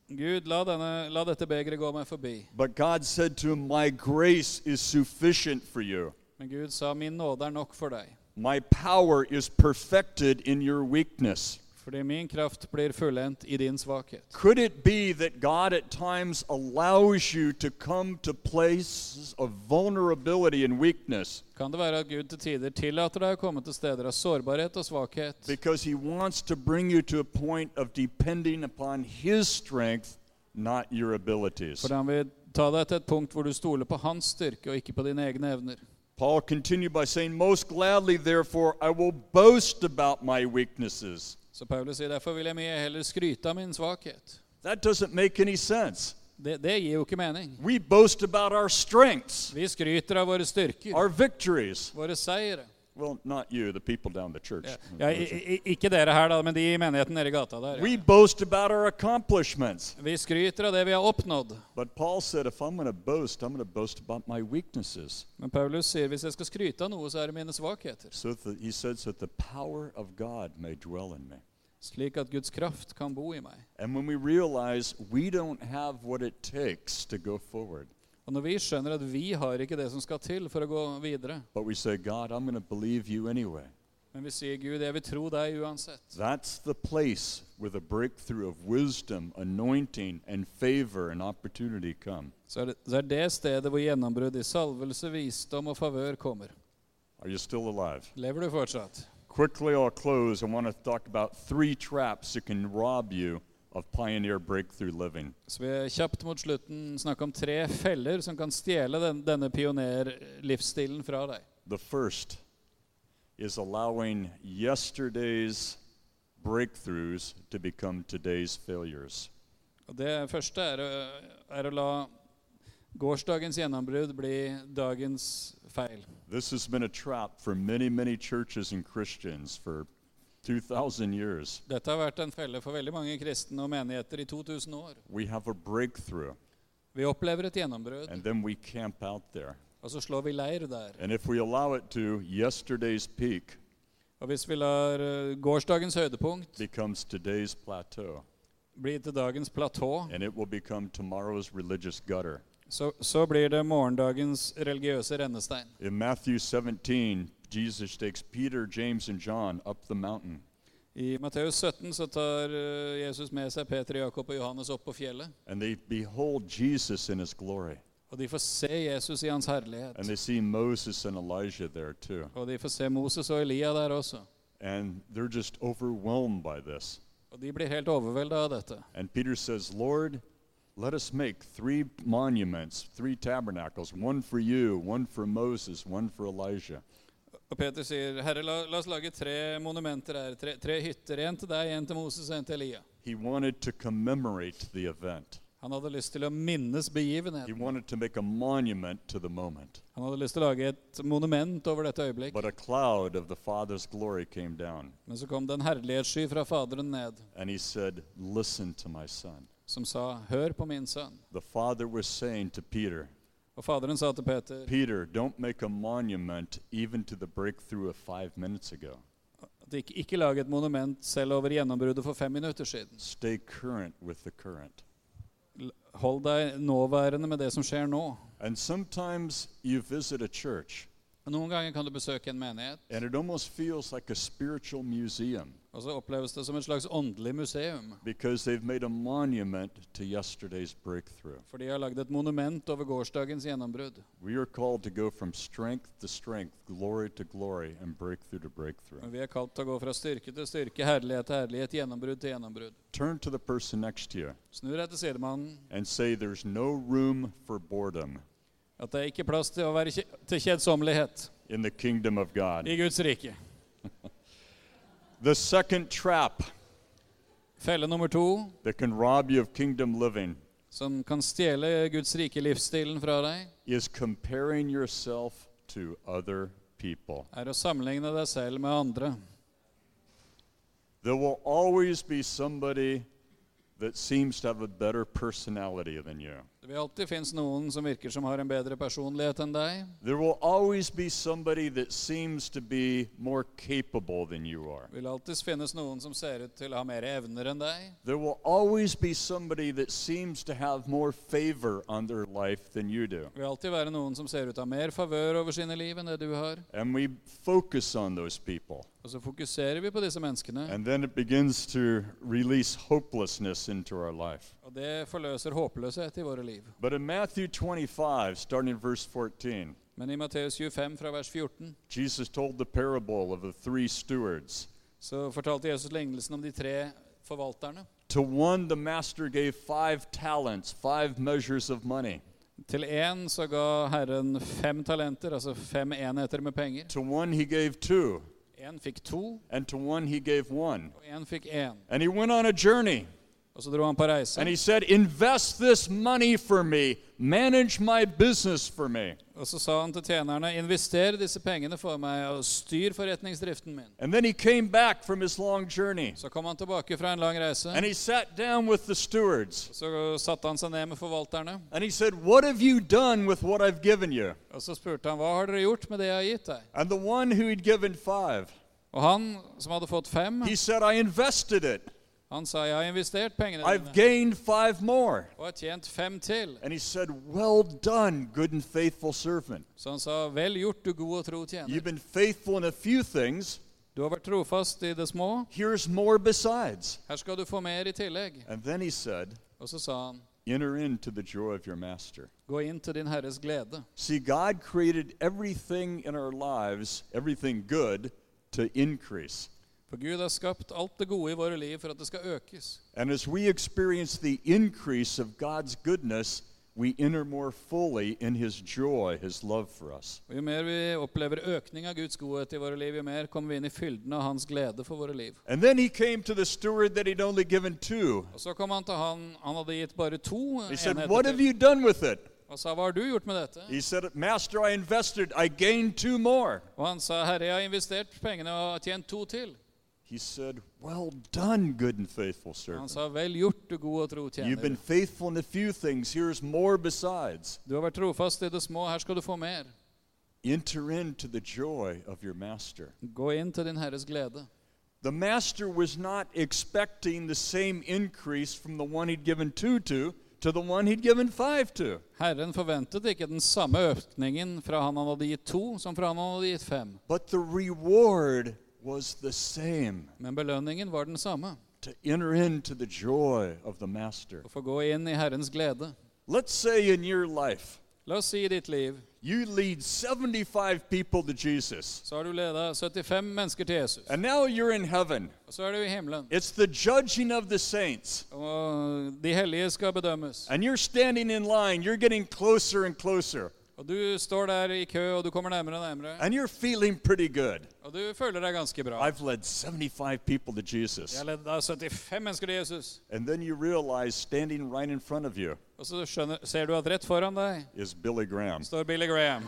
S3: Gud, la, denne, la dette begeret gå meg forbi.
S2: But God said to him, My grace is sufficient for you.
S3: Men Gud sa, min nåde er nok for deg.
S2: My power is perfected in your weakness.
S3: Fordi min kraft blir fullendt i din svakhet.
S2: Could it be that God at times allows you to come to places of vulnerability and weakness
S3: Kan det være at Gud til tider tillater deg å komme til steder av sårbarhet og svakhet?
S2: because He wants to bring you to a point of depending upon His strength, not your abilities?
S3: Fordi han vil ta deg til et punkt hvor du stoler på hans styrke og ikke på dine egne evner.
S2: Paul continued by saying, Most gladly, therefore, I will boast about my weaknesses.
S3: Så Paulus sier derfor vil jeg mye heller skryte av min svakhet.
S2: That doesn't make any sense.
S3: Det, det gir jo ikke mening.
S2: We boast about our strengths,
S3: Vi skryter av våre styrker,
S2: our victories.
S3: våre seire.
S2: Well, not you, the people down the church.
S3: Ja, ja, i, i, ikke dere her, da, men de i menigheten nede i gata der.
S2: We
S3: Ja.
S2: boast about our accomplishments.
S3: Vi skryter av det vi har oppnådd.
S2: But Paul said, if I'm going to boast, I'm going to boast about my weaknesses.
S3: Men Paulus sier hvis jeg skal skryte av noe, så er det mine svakheter.
S2: So that he says that the power of God may dwell in me.
S3: Slik at Guds kraft kan bo i meg.
S2: And when we realize we don't have what it takes to go forward,
S3: Og når vi skjønner at vi har ikke det som skal til for å gå videre,
S2: but we say, God, I'm going to believe you anyway.
S3: men vi sier Gud, jeg vil tro deg uansett.
S2: That's the place where the breakthrough of wisdom, anointing, and favor and opportunity come.
S3: Så er det, så er det stedet hvor gjennombrudd i salvelse, visdom og favør kommer.
S2: Are you still alive?
S3: Lever du fortsatt?
S2: Quickly, I'll close. I want to talk about three traps that can rob you of pioneer breakthrough living.
S3: Så vi er kjapt mot slutten snakke om tre feller som kan stjele den, denne pionerlivsstilen fra deg.
S2: The first is allowing yesterday's breakthroughs to become today's failures.
S3: Og det første er å, er å la gårsdagens gjennombrudd bli dagens feil.
S2: This has been a trap for many, many churches and Christians for 2,000 years.
S3: Dette har vært en felle for veldig mange kristne og menigheter i 2000 år.
S2: We have a breakthrough,
S3: Vi opplever et gjennombrudd,
S2: and then we camp out there.
S3: og så slår vi leir der.
S2: And if we allow it to, yesterday's peak
S3: Og hvis vi lar eh, gårsdagens høydepunkt
S2: becomes today's plateau,
S3: bli til dagens platå,
S2: and it will become tomorrow's religious gutter.
S3: så, så blir det morgendagens religiøse rennestein.
S2: In Matthew 17, Jesus takes Peter, James, and John up the mountain.
S3: I Matteus 17 så tar eh, Jesus med seg Peter, Jakob og Johannes opp på fjellet.
S2: And they behold Jesus in his glory.
S3: Og de får se Jesus i hans
S2: And
S3: herlighet.
S2: they see Moses and Elijah there too.
S3: Og de får se Moses og Elia der også.
S2: And they're just overwhelmed by this.
S3: Og de blir helt overvelda av dette.
S2: And Peter says, Lord, let us make three monuments, three tabernacles, one for you, one for Moses, one for Elijah.
S3: Og Peter sier, 'Herre, la, la oss lage tre monumenter her. Tre, tre hytter. En til deg, en til Moses og en til Elia.'
S2: He wanted to commemorate the event,
S3: Han hadde lyst til å minnes
S2: he
S3: begivenheten.
S2: wanted to make a monument to the moment.
S3: Han hadde lyst til å lage et monument over dette øyeblikk.
S2: But a cloud of the Father's glory came down,
S3: Men så kom det en herlighetssky fra Faderen ned,
S2: and he said, Listen to my son.
S3: som sa, 'Hør på min sønn'.
S2: The Father was saying to Peter,
S3: Og Faderen sa til Peter,
S2: Peter, don't make a monument even to the breakthrough of five minutes ago.
S3: at de ikke, ikke lag et monument selv over gjennombruddet for fem minutter siden.
S2: Stay current with the current.
S3: L- Hold deg nåværende med det som skjer nå.
S2: And sometimes you visit a church,
S3: Noen ganger kan du besøke en menighet,
S2: and it almost feels like a spiritual museum
S3: og så oppleves det som et slags åndelig museum.
S2: because they've made a monument to yesterday's breakthrough.
S3: For de har lagd et monument over gårsdagens gjennombrudd.
S2: We are called to go from strength to strength, glory to glory, and breakthrough to breakthrough.
S3: Og vi er kalt til å gå fra styrke til styrke, herlighet til herlighet, gjennombrudd til gjennombrudd.
S2: Turn to the person next to you
S3: Snu deg til sidemannen
S2: and say, There's no room for boredom
S3: at det er ikke plass til å være kje- til kjedsommelighet
S2: in the kingdom of God.
S3: i Guds rike.
S2: The second trap
S3: Felle nummer to,
S2: that can rob you of kingdom living
S3: som kan stjele Guds rike livsstilen fra deg,
S2: is comparing yourself to other people.
S3: er å sammenligne deg selv med andre.
S2: There will always be somebody that seems to have a better personality than you.
S3: Det vil alltid finnes noen som virker som har en bedre personlighet enn deg.
S2: There will always be somebody that seems to be more capable than you are.
S3: Det vil alltid finnes noen som ser ut til å ha mer evner enn deg.
S2: There will always be somebody that seems to have more favor on their life than you do.
S3: Det vil alltid være noen som ser ut til å ha mer favør over sine liv enn det du har.
S2: And we focus on those people.
S3: Og så fokuserer vi på disse menneskene,
S2: And then it begins to release hopelessness into our life.
S3: og det forløser håpløshet i våre liv.
S2: But in Matthew 25, starting in verse 14,
S3: Men i Matteus 25 fra vers 14
S2: Jesus told the parable of the three stewards.
S3: så fortalte Jesus lignelsen om de tre forvalterne.
S2: To one, the master gave five talents, five measures of money.
S3: Til én så ga Herren fem talenter, altså fem enheter med penger.
S2: To one, he gave two,
S3: Én fikk to,
S2: and to one, he gave one.
S3: og én fikk én.
S2: And he went on a journey.
S3: Og så dro han på reise.
S2: And he said, Invest this money for me, manage my business for me.
S3: Og så sa han til tjenerne, invester disse pengene for meg, og styr forretningsdriften min.
S2: And then he came back from his long journey
S3: Så kom han tilbake fra en lang reise,
S2: and he sat down with the stewards.
S3: så satte han seg ned med forvalterne,
S2: And he said, What have you done with what I've given you?
S3: og så spurte han, hva har dere gjort med det jeg har gitt deg?
S2: And the one who he'd given five,
S3: Og han som hadde fått fem,
S2: he said, I invested it.
S3: han sa, jeg har investert pengene
S2: I've
S3: dine,
S2: gained five more.
S3: og har tjent fem til.
S2: And he said, Well done, good and faithful servant.
S3: Så han sa, vel gjort du god og tro tjener.
S2: You've been faithful in a few things,
S3: Du har vært trofast i det små,
S2: here's more besides.
S3: her skal du få mer i tillegg.
S2: And then he said,
S3: Og så sa han,
S2: Enter into the joy of your master.
S3: gå inn til din Herres glede.
S2: See, God created everything in our lives, everything good, to increase.
S3: For Gud har skapt alt det gode i våre liv for at det skal økes.
S2: And as we experience the increase of God's goodness, we enter more fully in His joy, His love for us.
S3: Og Jo mer vi opplever økning av Guds godhet i våre liv, jo mer kommer vi inn i fylden av Hans glede for våre liv.
S2: And then he came to the steward that he'd only given two.
S3: Og Så kom han til han han hadde gitt bare to
S2: He
S3: enheter
S2: said, What have
S3: til,
S2: you done with it?
S3: og sa, 'Hva har du gjort med dette?'
S2: He said, Master, I invested, I gained two more.
S3: Og han sa, 'Herre, jeg har investert pengene og har tjent to til.'
S2: He said, Well done, good and faithful
S3: Og Han
S2: servant.
S3: sa, 'Vel gjort, du god og tro
S2: You've been
S3: tjener.
S2: faithful in a few things, here's more besides.
S3: Du har vært trofast i det små, her skal du få mer.'
S2: Enter into the joy of your master.
S3: Gå inn til din Herres glede.
S2: The master was not expecting the same increase from the one he'd given two to to the one he'd given five to.
S3: Herren forventet ikke den samme økningen fra han han hadde gitt to, som fra han han hadde gitt fem.
S2: But the reward was the same
S3: Men belønningen var den samme.
S2: to enter into the joy of the master.
S3: Å få gå inn i Herrens glede.
S2: Let's say in your life,
S3: La oss si i ditt liv
S2: you lead 75 people to Jesus,
S3: så har du leda 75 mennesker til Jesus.
S2: and now you're in heaven.
S3: Og så er du i himmelen.
S2: It's the judging of the saints,
S3: Og de hellige skal bedømmes.
S2: and you're standing in line, you're getting closer and closer,
S3: Og du står der i kø, og du kommer nærmere og nærmere.
S2: and you're feeling pretty good.
S3: Og du føler deg ganske bra.
S2: I've led 75 people to Jesus.
S3: Jeg leda 75 mennesker til Jesus.
S2: And then you realize standing right in front of you
S3: Og så skjønner, ser du at rett foran deg
S2: is Billy Graham.
S3: står Billy Graham.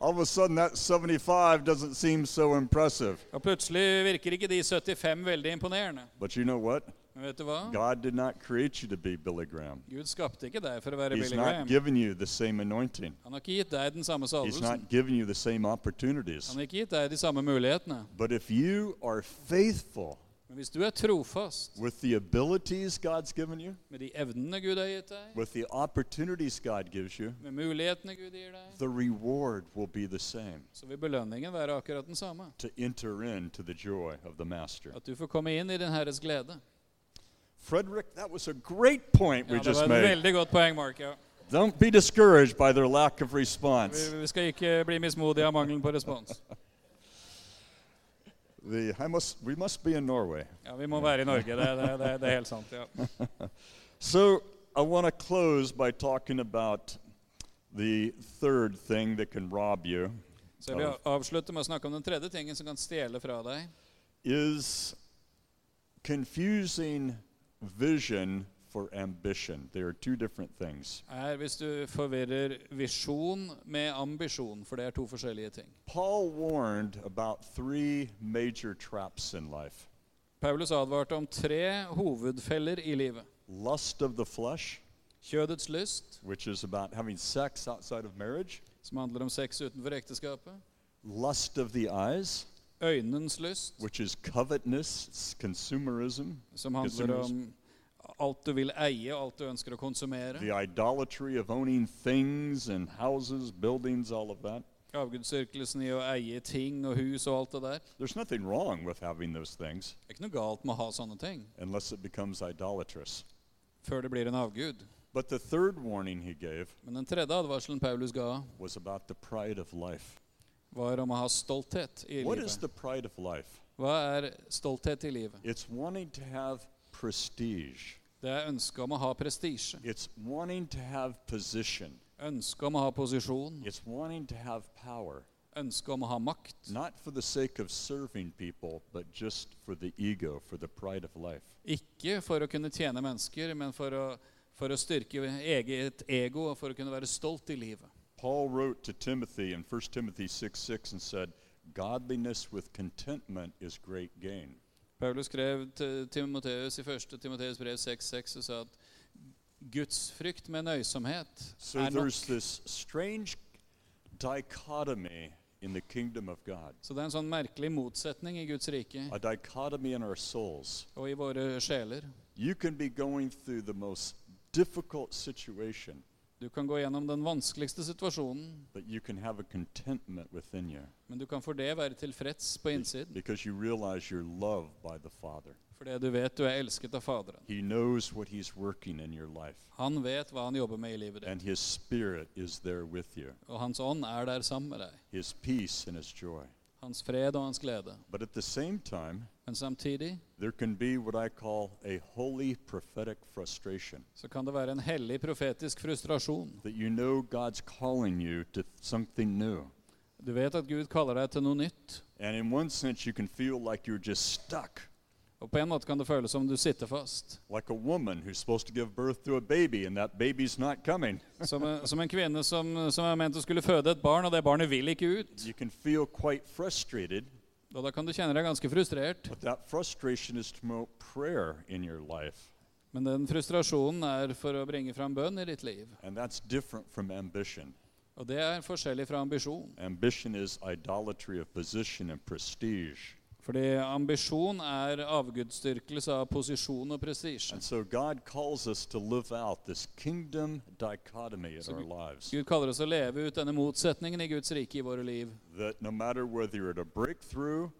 S2: All of a sudden, that 75 doesn't seem so impressive.
S3: Og plutselig virker ikke de 75 veldig imponerende.
S2: But you know what?
S3: Men vet du hva?
S2: God did not create you to be Billy Graham.
S3: Gud skapte ikke deg for å være
S2: He's
S3: Billy
S2: not
S3: Graham.
S2: giving you the same anointing,
S3: Han har ikke gitt deg den samme
S2: He's
S3: salvelsen.
S2: not giving you the same opportunities.
S3: Han har ikke gitt deg de samme mulighetene.
S2: But if you are faithful
S3: Men hvis du er trofast
S2: with the abilities God's given you,
S3: med de evnene Gud har gitt deg,
S2: with the opportunities God gives you,
S3: med mulighetene Gud gir deg,
S2: the reward will be the same
S3: så vil belønningen være akkurat den samme.
S2: to enter into the joy of the Master.
S3: At du får komme inn i din Herres glede.
S2: Frederick, that was a great point we
S3: Ja, det
S2: just
S3: var et
S2: made.
S3: veldig godt poeng, Mark. Ja.
S2: Don't be discouraged by their lack of
S3: Vi,
S2: response.
S3: vi skal ikke bli mismodige av mangelen på respons.
S2: The, I must, we must be in Norway.
S3: Ja, Vi må være i Norge, det, det, det, det er helt sant. ja.
S2: So I want to close by talking about the third thing that can rob you
S3: Så jeg vil avslutte med å snakke om den tredje tingen som kan stjele fra deg.
S2: is confusing vision for ambition. They are two different things.
S3: er hvis du forvirrer visjon med ambisjon, for det er to forskjellige ting.
S2: Paul warned about three major traps in life
S3: Paulus advarte om tre hovedfeller i livet.
S2: lust of the flesh,
S3: Kjødets lyst,
S2: which is about having sex outside of marriage,
S3: som handler om sex utenfor ekteskapet.
S2: lust of the eyes,
S3: Øynens lyst,
S2: which is covetousness, it's consumerism,
S3: som handler om alt du vil eie og alt du ønsker å konsumere.
S2: the idolatry of owning things and houses, buildings, all of that.
S3: Avgudsdyrkelsen i å eie ting og hus og alt det der.
S2: There's nothing wrong with having those things
S3: Det er ikke noe galt med å ha sånne ting
S2: unless it becomes idolatrous.
S3: før det blir en avgud.
S2: But the third warning he gave
S3: Men den tredje advarselen Paulus ga,
S2: was about the pride of life.
S3: var om å ha stolthet i
S2: What is
S3: livet.
S2: the pride of life?
S3: Hva er stolthet i livet?
S2: It's wanting to have prestige.
S3: Det er ønsket om å ha prestisje.
S2: It's wanting to have position.
S3: Ønsket om å ha posisjon.
S2: It's wanting to have power,
S3: Ønsket om å ha makt.
S2: not for the sake of serving people, but just for the ego, for the pride of life.
S3: Ikke for å kunne tjene mennesker, men for å, for å styrke eget ego og for å kunne være stolt i livet.
S2: Paul wrote to Timothy in 1 Timothy 6 6 and said, Godliness with contentment is great gain.
S3: Paulus skrev til Timoteus i 1. Timoteus brev 6,6 og sa at Guds frykt med nøysomhet
S2: So
S3: er
S2: there's
S3: nok.
S2: this strange dichotomy in the kingdom of God,
S3: Så det er en sånn merkelig motsetning i Guds rike
S2: a dichotomy in our souls.
S3: og i våre sjeler.
S2: You can be going through the most difficult situation,
S3: Du kan gå gjennom den vanskeligste situasjonen,
S2: but you can have a contentment within you
S3: men du kan for det være tilfreds på innsiden.
S2: because you realize you're loved by the Father.
S3: Fordi du vet du er elsket av Faderen.
S2: He knows what He's working in your life,
S3: Han vet hva han jobber med i livet ditt,
S2: and His Spirit is there with you,
S3: og hans ånd er der sammen med deg.
S2: His peace and His joy.
S3: Hans fred og hans glede.
S2: But at the same time,
S3: Men samtidig
S2: there can be what I call a holy prophetic frustration
S3: så kan det være en hellig profetisk frustrasjon.
S2: that you know God's calling you to something new.
S3: Du vet at Gud kaller deg til noe nytt,
S2: And in one sense, you can feel like you're just stuck,
S3: og på en måte kan det føles som du sitter fast.
S2: like a woman who's supposed to give birth to a baby and that baby's not coming.
S3: Som en, som en kvinne som, som er ment å skulle føde et barn, og det barnet vil ikke ut.
S2: You can feel quite frustrated,
S3: Og da kan du kjenne deg ganske frustrert.
S2: but that frustration is to promote prayer in your life.
S3: Men den frustrasjonen er for å bringe fram bønn i ditt liv.
S2: And that's different from ambition.
S3: Og det er forskjellig fra ambisjon.
S2: Ambition is idolatry of position and prestige.
S3: Fordi ambisjon er avgudsdyrkelse av posisjon og prestisje.
S2: And so God calls us to live out this kingdom dichotomy in our lives.
S3: Gud kaller oss å leve ut denne motsetningen i Guds rike i våre liv.
S2: That no matter whether you're at a breakthrough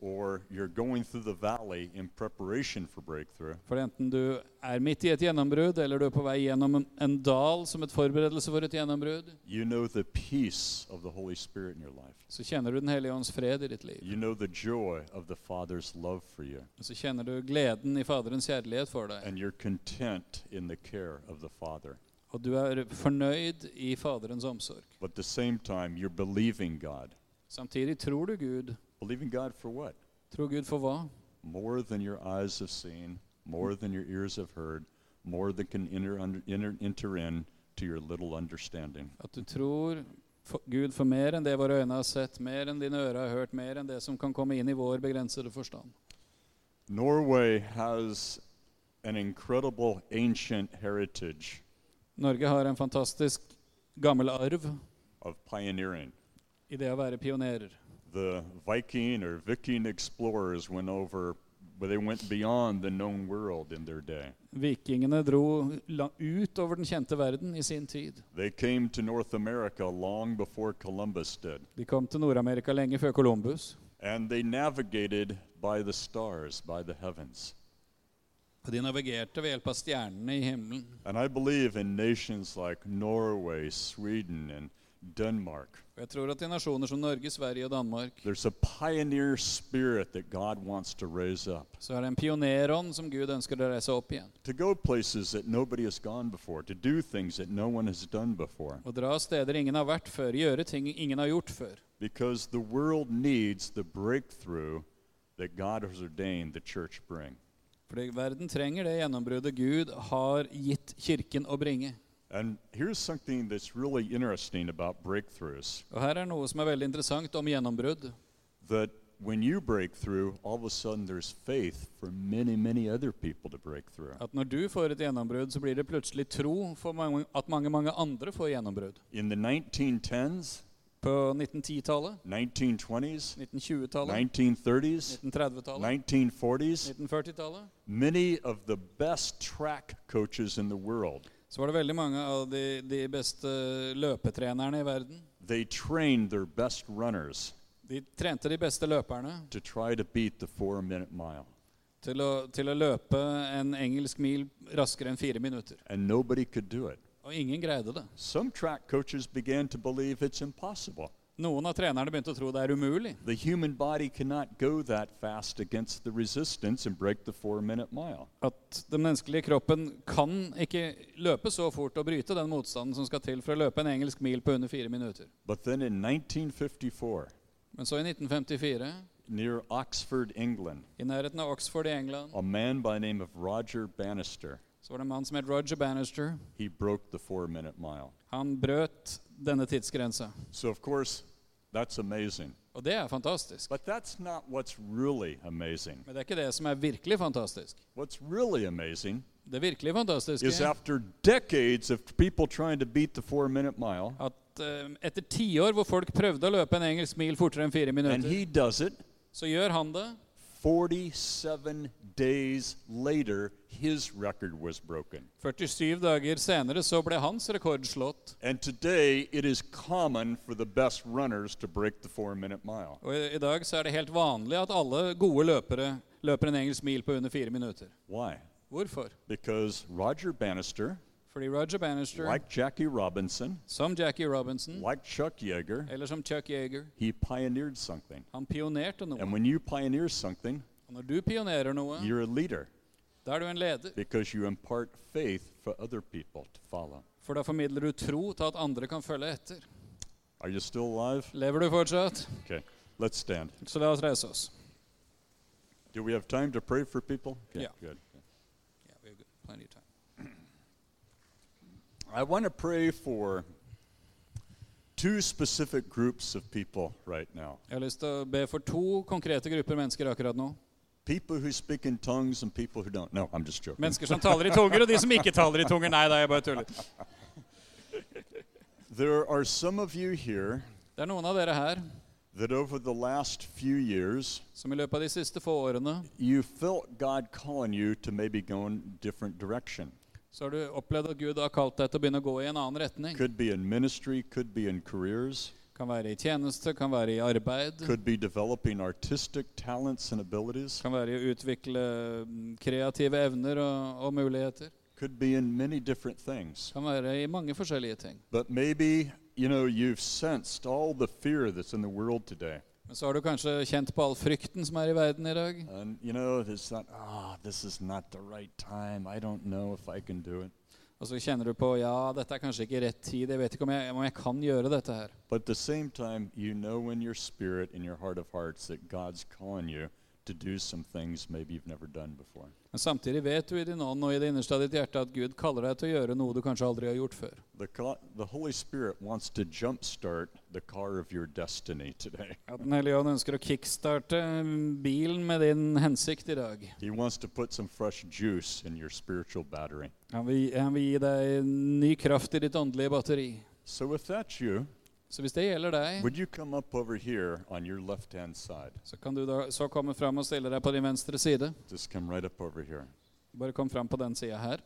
S2: or you're going through the valley in preparation for breakthrough,
S3: For enten du er midt i et gjennombrudd, eller du er på vei gjennom en- en dal som et forberedelse for et gjennombrudd,
S2: you know the peace of the Holy Spirit in your life.
S3: så kjenner du Den hellige ånds fred i ditt liv.
S2: You know the joy of the Father's love for you.
S3: Og så kjenner du gleden i Faderens kjærlighet for deg.
S2: And you're content in the care of the Father.
S3: Og du er fornøyd i Faderens omsorg.
S2: But at the same time, you're believing God.
S3: Samtidig tror du Gud.
S2: Believing God for what?
S3: Tror Gud for hva?
S2: More than your eyes have seen, more than your ears have heard, more than can enter, under, enter, enter in to your little understanding.
S3: At du tror for Gud for mer enn det våre øyne har sett, mer enn dine ører har hørt, mer enn det som kan komme inn i vår begrensede forstand.
S2: Norway has an incredible ancient heritage
S3: Norge har en fantastisk gammel arv
S2: of pioneering.
S3: i det å være pionerer.
S2: The Viking or Viking explorers went over, but they went beyond the known world in their day.
S3: Vikingene dro la- ut over den kjente verden i sin tid.
S2: They came to North America long before Columbus did,
S3: De kom til Nord-Amerika lenge før Columbus.
S2: and they navigated by the stars, by the heavens.
S3: Og de navigerte ved hjelp av stjernene i himmelen.
S2: And I believe in nations like Norway, Sweden, and Denmark.
S3: Og jeg tror at i nasjoner som Norge, Sverige og Danmark
S2: There's a pioneer spirit that God wants to raise up,
S3: så er det en pionerånd som Gud ønsker å reise opp igjen.
S2: to go places that nobody has gone before, to do things that no one has done before.
S3: Å dra steder ingen har vært før, gjøre ting ingen har gjort før.
S2: Because the world needs the breakthrough that God has ordained the church bring.
S3: Fordi verden trenger det gjennombruddet Gud har gitt kirken å bringe.
S2: And here's something that's really interesting about breakthroughs
S3: Og her er noe som er veldig interessant om gjennombrudd.
S2: that when you break through, all of a sudden there's faith for many, many other people to break through.
S3: At når du får et gjennombrudd, så blir det plutselig tro for mange, at mange, mange andre får gjennombrudd.
S2: In the 1910s,
S3: På 1910-tallet,
S2: 1920s,
S3: 1920-tallet,
S2: 1930s,
S3: 1930-tallet,
S2: 1940s,
S3: 1940-tallet,
S2: many of the best track coaches in the world,
S3: så var det veldig mange av de, de beste løpetrenerne i verden.
S2: they trained their best runners
S3: De trente de beste løperne
S2: to try to beat the four minute mile.
S3: til å, til å løpe en engelsk mil raskere enn fire minutter.
S2: And nobody could do it.
S3: Og ingen greide det.
S2: Some track coaches began to believe it's impossible.
S3: Noen av trenerne begynte å tro det er umulig.
S2: The human body cannot go that fast against the resistance and break the four minute mile.
S3: At den menneskelige kroppen kan ikke løpe så fort og bryte den motstanden som skal til for å løpe en engelsk mil på under fire minutter.
S2: But then in 1954,
S3: Men så i 1954,
S2: near Oxford, England,
S3: i nærheten av Oxford i England,
S2: a man by the name of Roger Bannister,
S3: så var det en mann som het Roger Bannister.
S2: he broke the four minute mile.
S3: Han brøt denne tidsgrensa.
S2: So, of course, that's amazing.
S3: Og det er fantastisk.
S2: But that's not what's really amazing.
S3: Men det er ikke det som er virkelig fantastisk.
S2: What's really amazing
S3: Det virkelig fantastiske
S2: is after decades of people trying to beat the four minute mile,
S3: at eh, etter tiår hvor folk prøvde å løpe en engelsk mil fortere enn fire
S2: and
S3: minutter,
S2: he does it.
S3: så gjør han det.
S2: 47 days later, his record was broken.
S3: 47 dager senere så ble hans rekord slått.
S2: And today, it is common for the best runners to break the four minute mile.
S3: Og i, i dag så er det helt vanlig at alle gode løpere løper en engelsk mil på under fire minutter.
S2: Why?
S3: Hvorfor?
S2: Because Roger Bannister,
S3: Fordi Roger Bannister,
S2: like Jackie Robinson,
S3: som Jackie Robinson,
S2: like Chuck Yeager,
S3: eller som Chuck Yeager,
S2: he pioneered something.
S3: han pionerte noe.
S2: And when you pioneer something,
S3: Og når du pionerer noe,
S2: you're a leader
S3: da er du en leder.
S2: because you impart faith for other people to follow.
S3: For da formidler du tro til at andre kan følge etter.
S2: Are you still alive?
S3: Lever du fortsatt?
S2: Okay, let's stand.
S3: Så la oss reise oss.
S2: Do we have time to pray for people? Okay,
S3: Yeah.
S2: Good.
S3: Yeah, we have good- plenty of time.
S2: I want to pray for two specific groups of people right now
S3: Jeg har lyst til å be for to konkrete grupper mennesker akkurat nå.
S2: people who speak in tongues and people who don't. No, I'm just joking.
S3: Mennesker som taler i tunger, og de som ikke taler i tunger. Nei da, jeg bare tuller.
S2: There are some of you here
S3: Det er noen av dere her
S2: that over the last few years,
S3: som i løpet av de siste få årene
S2: you felt God calling you to maybe go in different direction.
S3: så har du opplevd at Gud har kalt deg til å begynne å gå i en annen retning.
S2: Could be in ministry, could be in careers,
S3: Kan være i tjeneste, kan være i arbeid,
S2: could be developing artistic talents and abilities,
S3: kan være i å utvikle mm, kreative evner og, og muligheter.
S2: could be in many different things.
S3: Kan være i mange forskjellige ting.
S2: But maybe, you know, you've sensed all the fear that's in the world today.
S3: Men så har du kanskje kjent på all frykten som er i verden i dag.
S2: And, you know, it's not, ah, this is not the right time. I don't know if I can do it.
S3: Og så kjenner du på ja, dette er kanskje ikke rett tid, jeg vet ikke om jeg, om jeg kan gjøre dette her.
S2: But at the same time, you know in your spirit, in your heart of hearts, that God's calling you to do some things maybe you've never done before.
S3: Men samtidig vet du i din ånd og i det innerste av ditt hjerte at Gud kaller deg til å gjøre noe du kanskje aldri har gjort før.
S2: The, co- the Holy Spirit wants to jumpstart the car of your destiny today.
S3: At Den hellige ånd ønsker å kickstarte bilen med din hensikt i dag.
S2: He wants to put some fresh juice in your spiritual battery.
S3: Han vil, han vil gi deg ny kraft i ditt åndelige batteri.
S2: So if that's you,
S3: Så hvis det gjelder deg,
S2: would you come up over here on your left-hand side?
S3: så kan du da, så komme fram og stille deg på din venstre side.
S2: Just come right up over here.
S3: Bare kom fram på den sida her.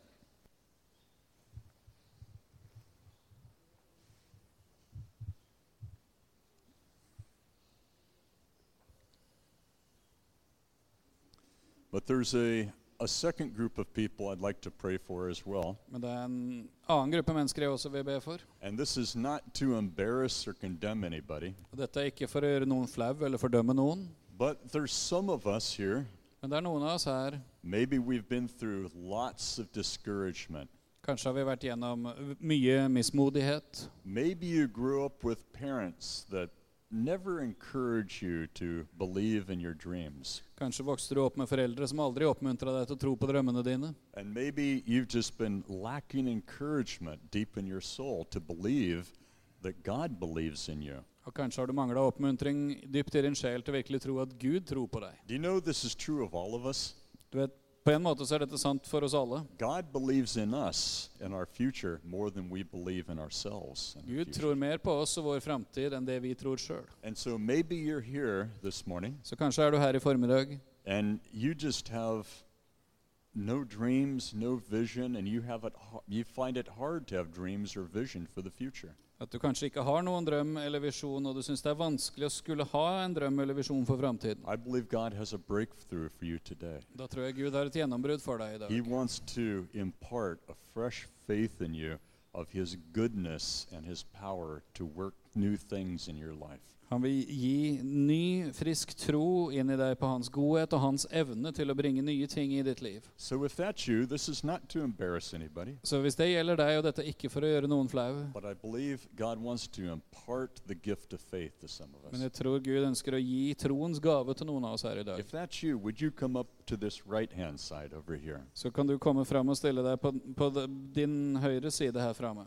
S2: But there's a, a second group of people I'd like to pray for as well.
S3: Men det er en annen gruppe mennesker jeg også vil be for.
S2: And this is not to embarrass or condemn anybody,
S3: Og dette er ikke for å gjøre noen flau eller fordømme noen.
S2: but there's some of us here,
S3: Men det er noen av oss her
S2: maybe we've been through lots of discouragement.
S3: Kanskje har vi vært gjennom mye mismodighet.
S2: Maybe you grew up with parents that never encourage you to believe in your dreams.
S3: Kanskje vokste du opp med foreldre som aldri oppmuntra deg til å tro på drømmene dine.
S2: And maybe you've just been lacking encouragement deep in your soul to believe that God believes in you.
S3: Og kanskje har du mangla oppmuntring dypt i din sjel til å virkelig tro at Gud tror på deg.
S2: Do you know this is true of all of us?
S3: Du vet, På en måte så er dette sant for oss alle.
S2: God believes in us and our future more than we believe in ourselves. and our
S3: Gud
S2: future.
S3: tror mer på oss og vår framtid enn det vi tror sjøl.
S2: And so maybe you're here this morning
S3: Så kanskje er du her i formiddag,
S2: and you just have no dreams, no vision, and you have it. har- You find it hard to have dreams or vision for the future.
S3: at du kanskje ikke har noen drøm eller visjon, og du syns det er vanskelig å skulle ha en drøm eller visjon for framtiden.
S2: I believe God has a breakthrough for you today.
S3: Da tror jeg Gud har et gjennombrudd for deg i dag.
S2: He wants to impart a fresh faith in you of His goodness and His power to work new things in your life.
S3: Han vil gi ny, frisk tro inn i deg på hans godhet og hans evne til å bringe nye ting i ditt liv.
S2: So, if that's you, this is not to embarrass anybody,
S3: Så hvis det gjelder deg, og dette er ikke for å gjøre noen flau,
S2: but I believe God wants to impart the gift of faith to some of
S3: men
S2: us.
S3: jeg tror Gud ønsker å gi troens gave til noen av oss her i dag,
S2: If that's you, would you come up to this right hand side over here?
S3: så kan du komme fram og stille deg på, på d- din høyre side her framme.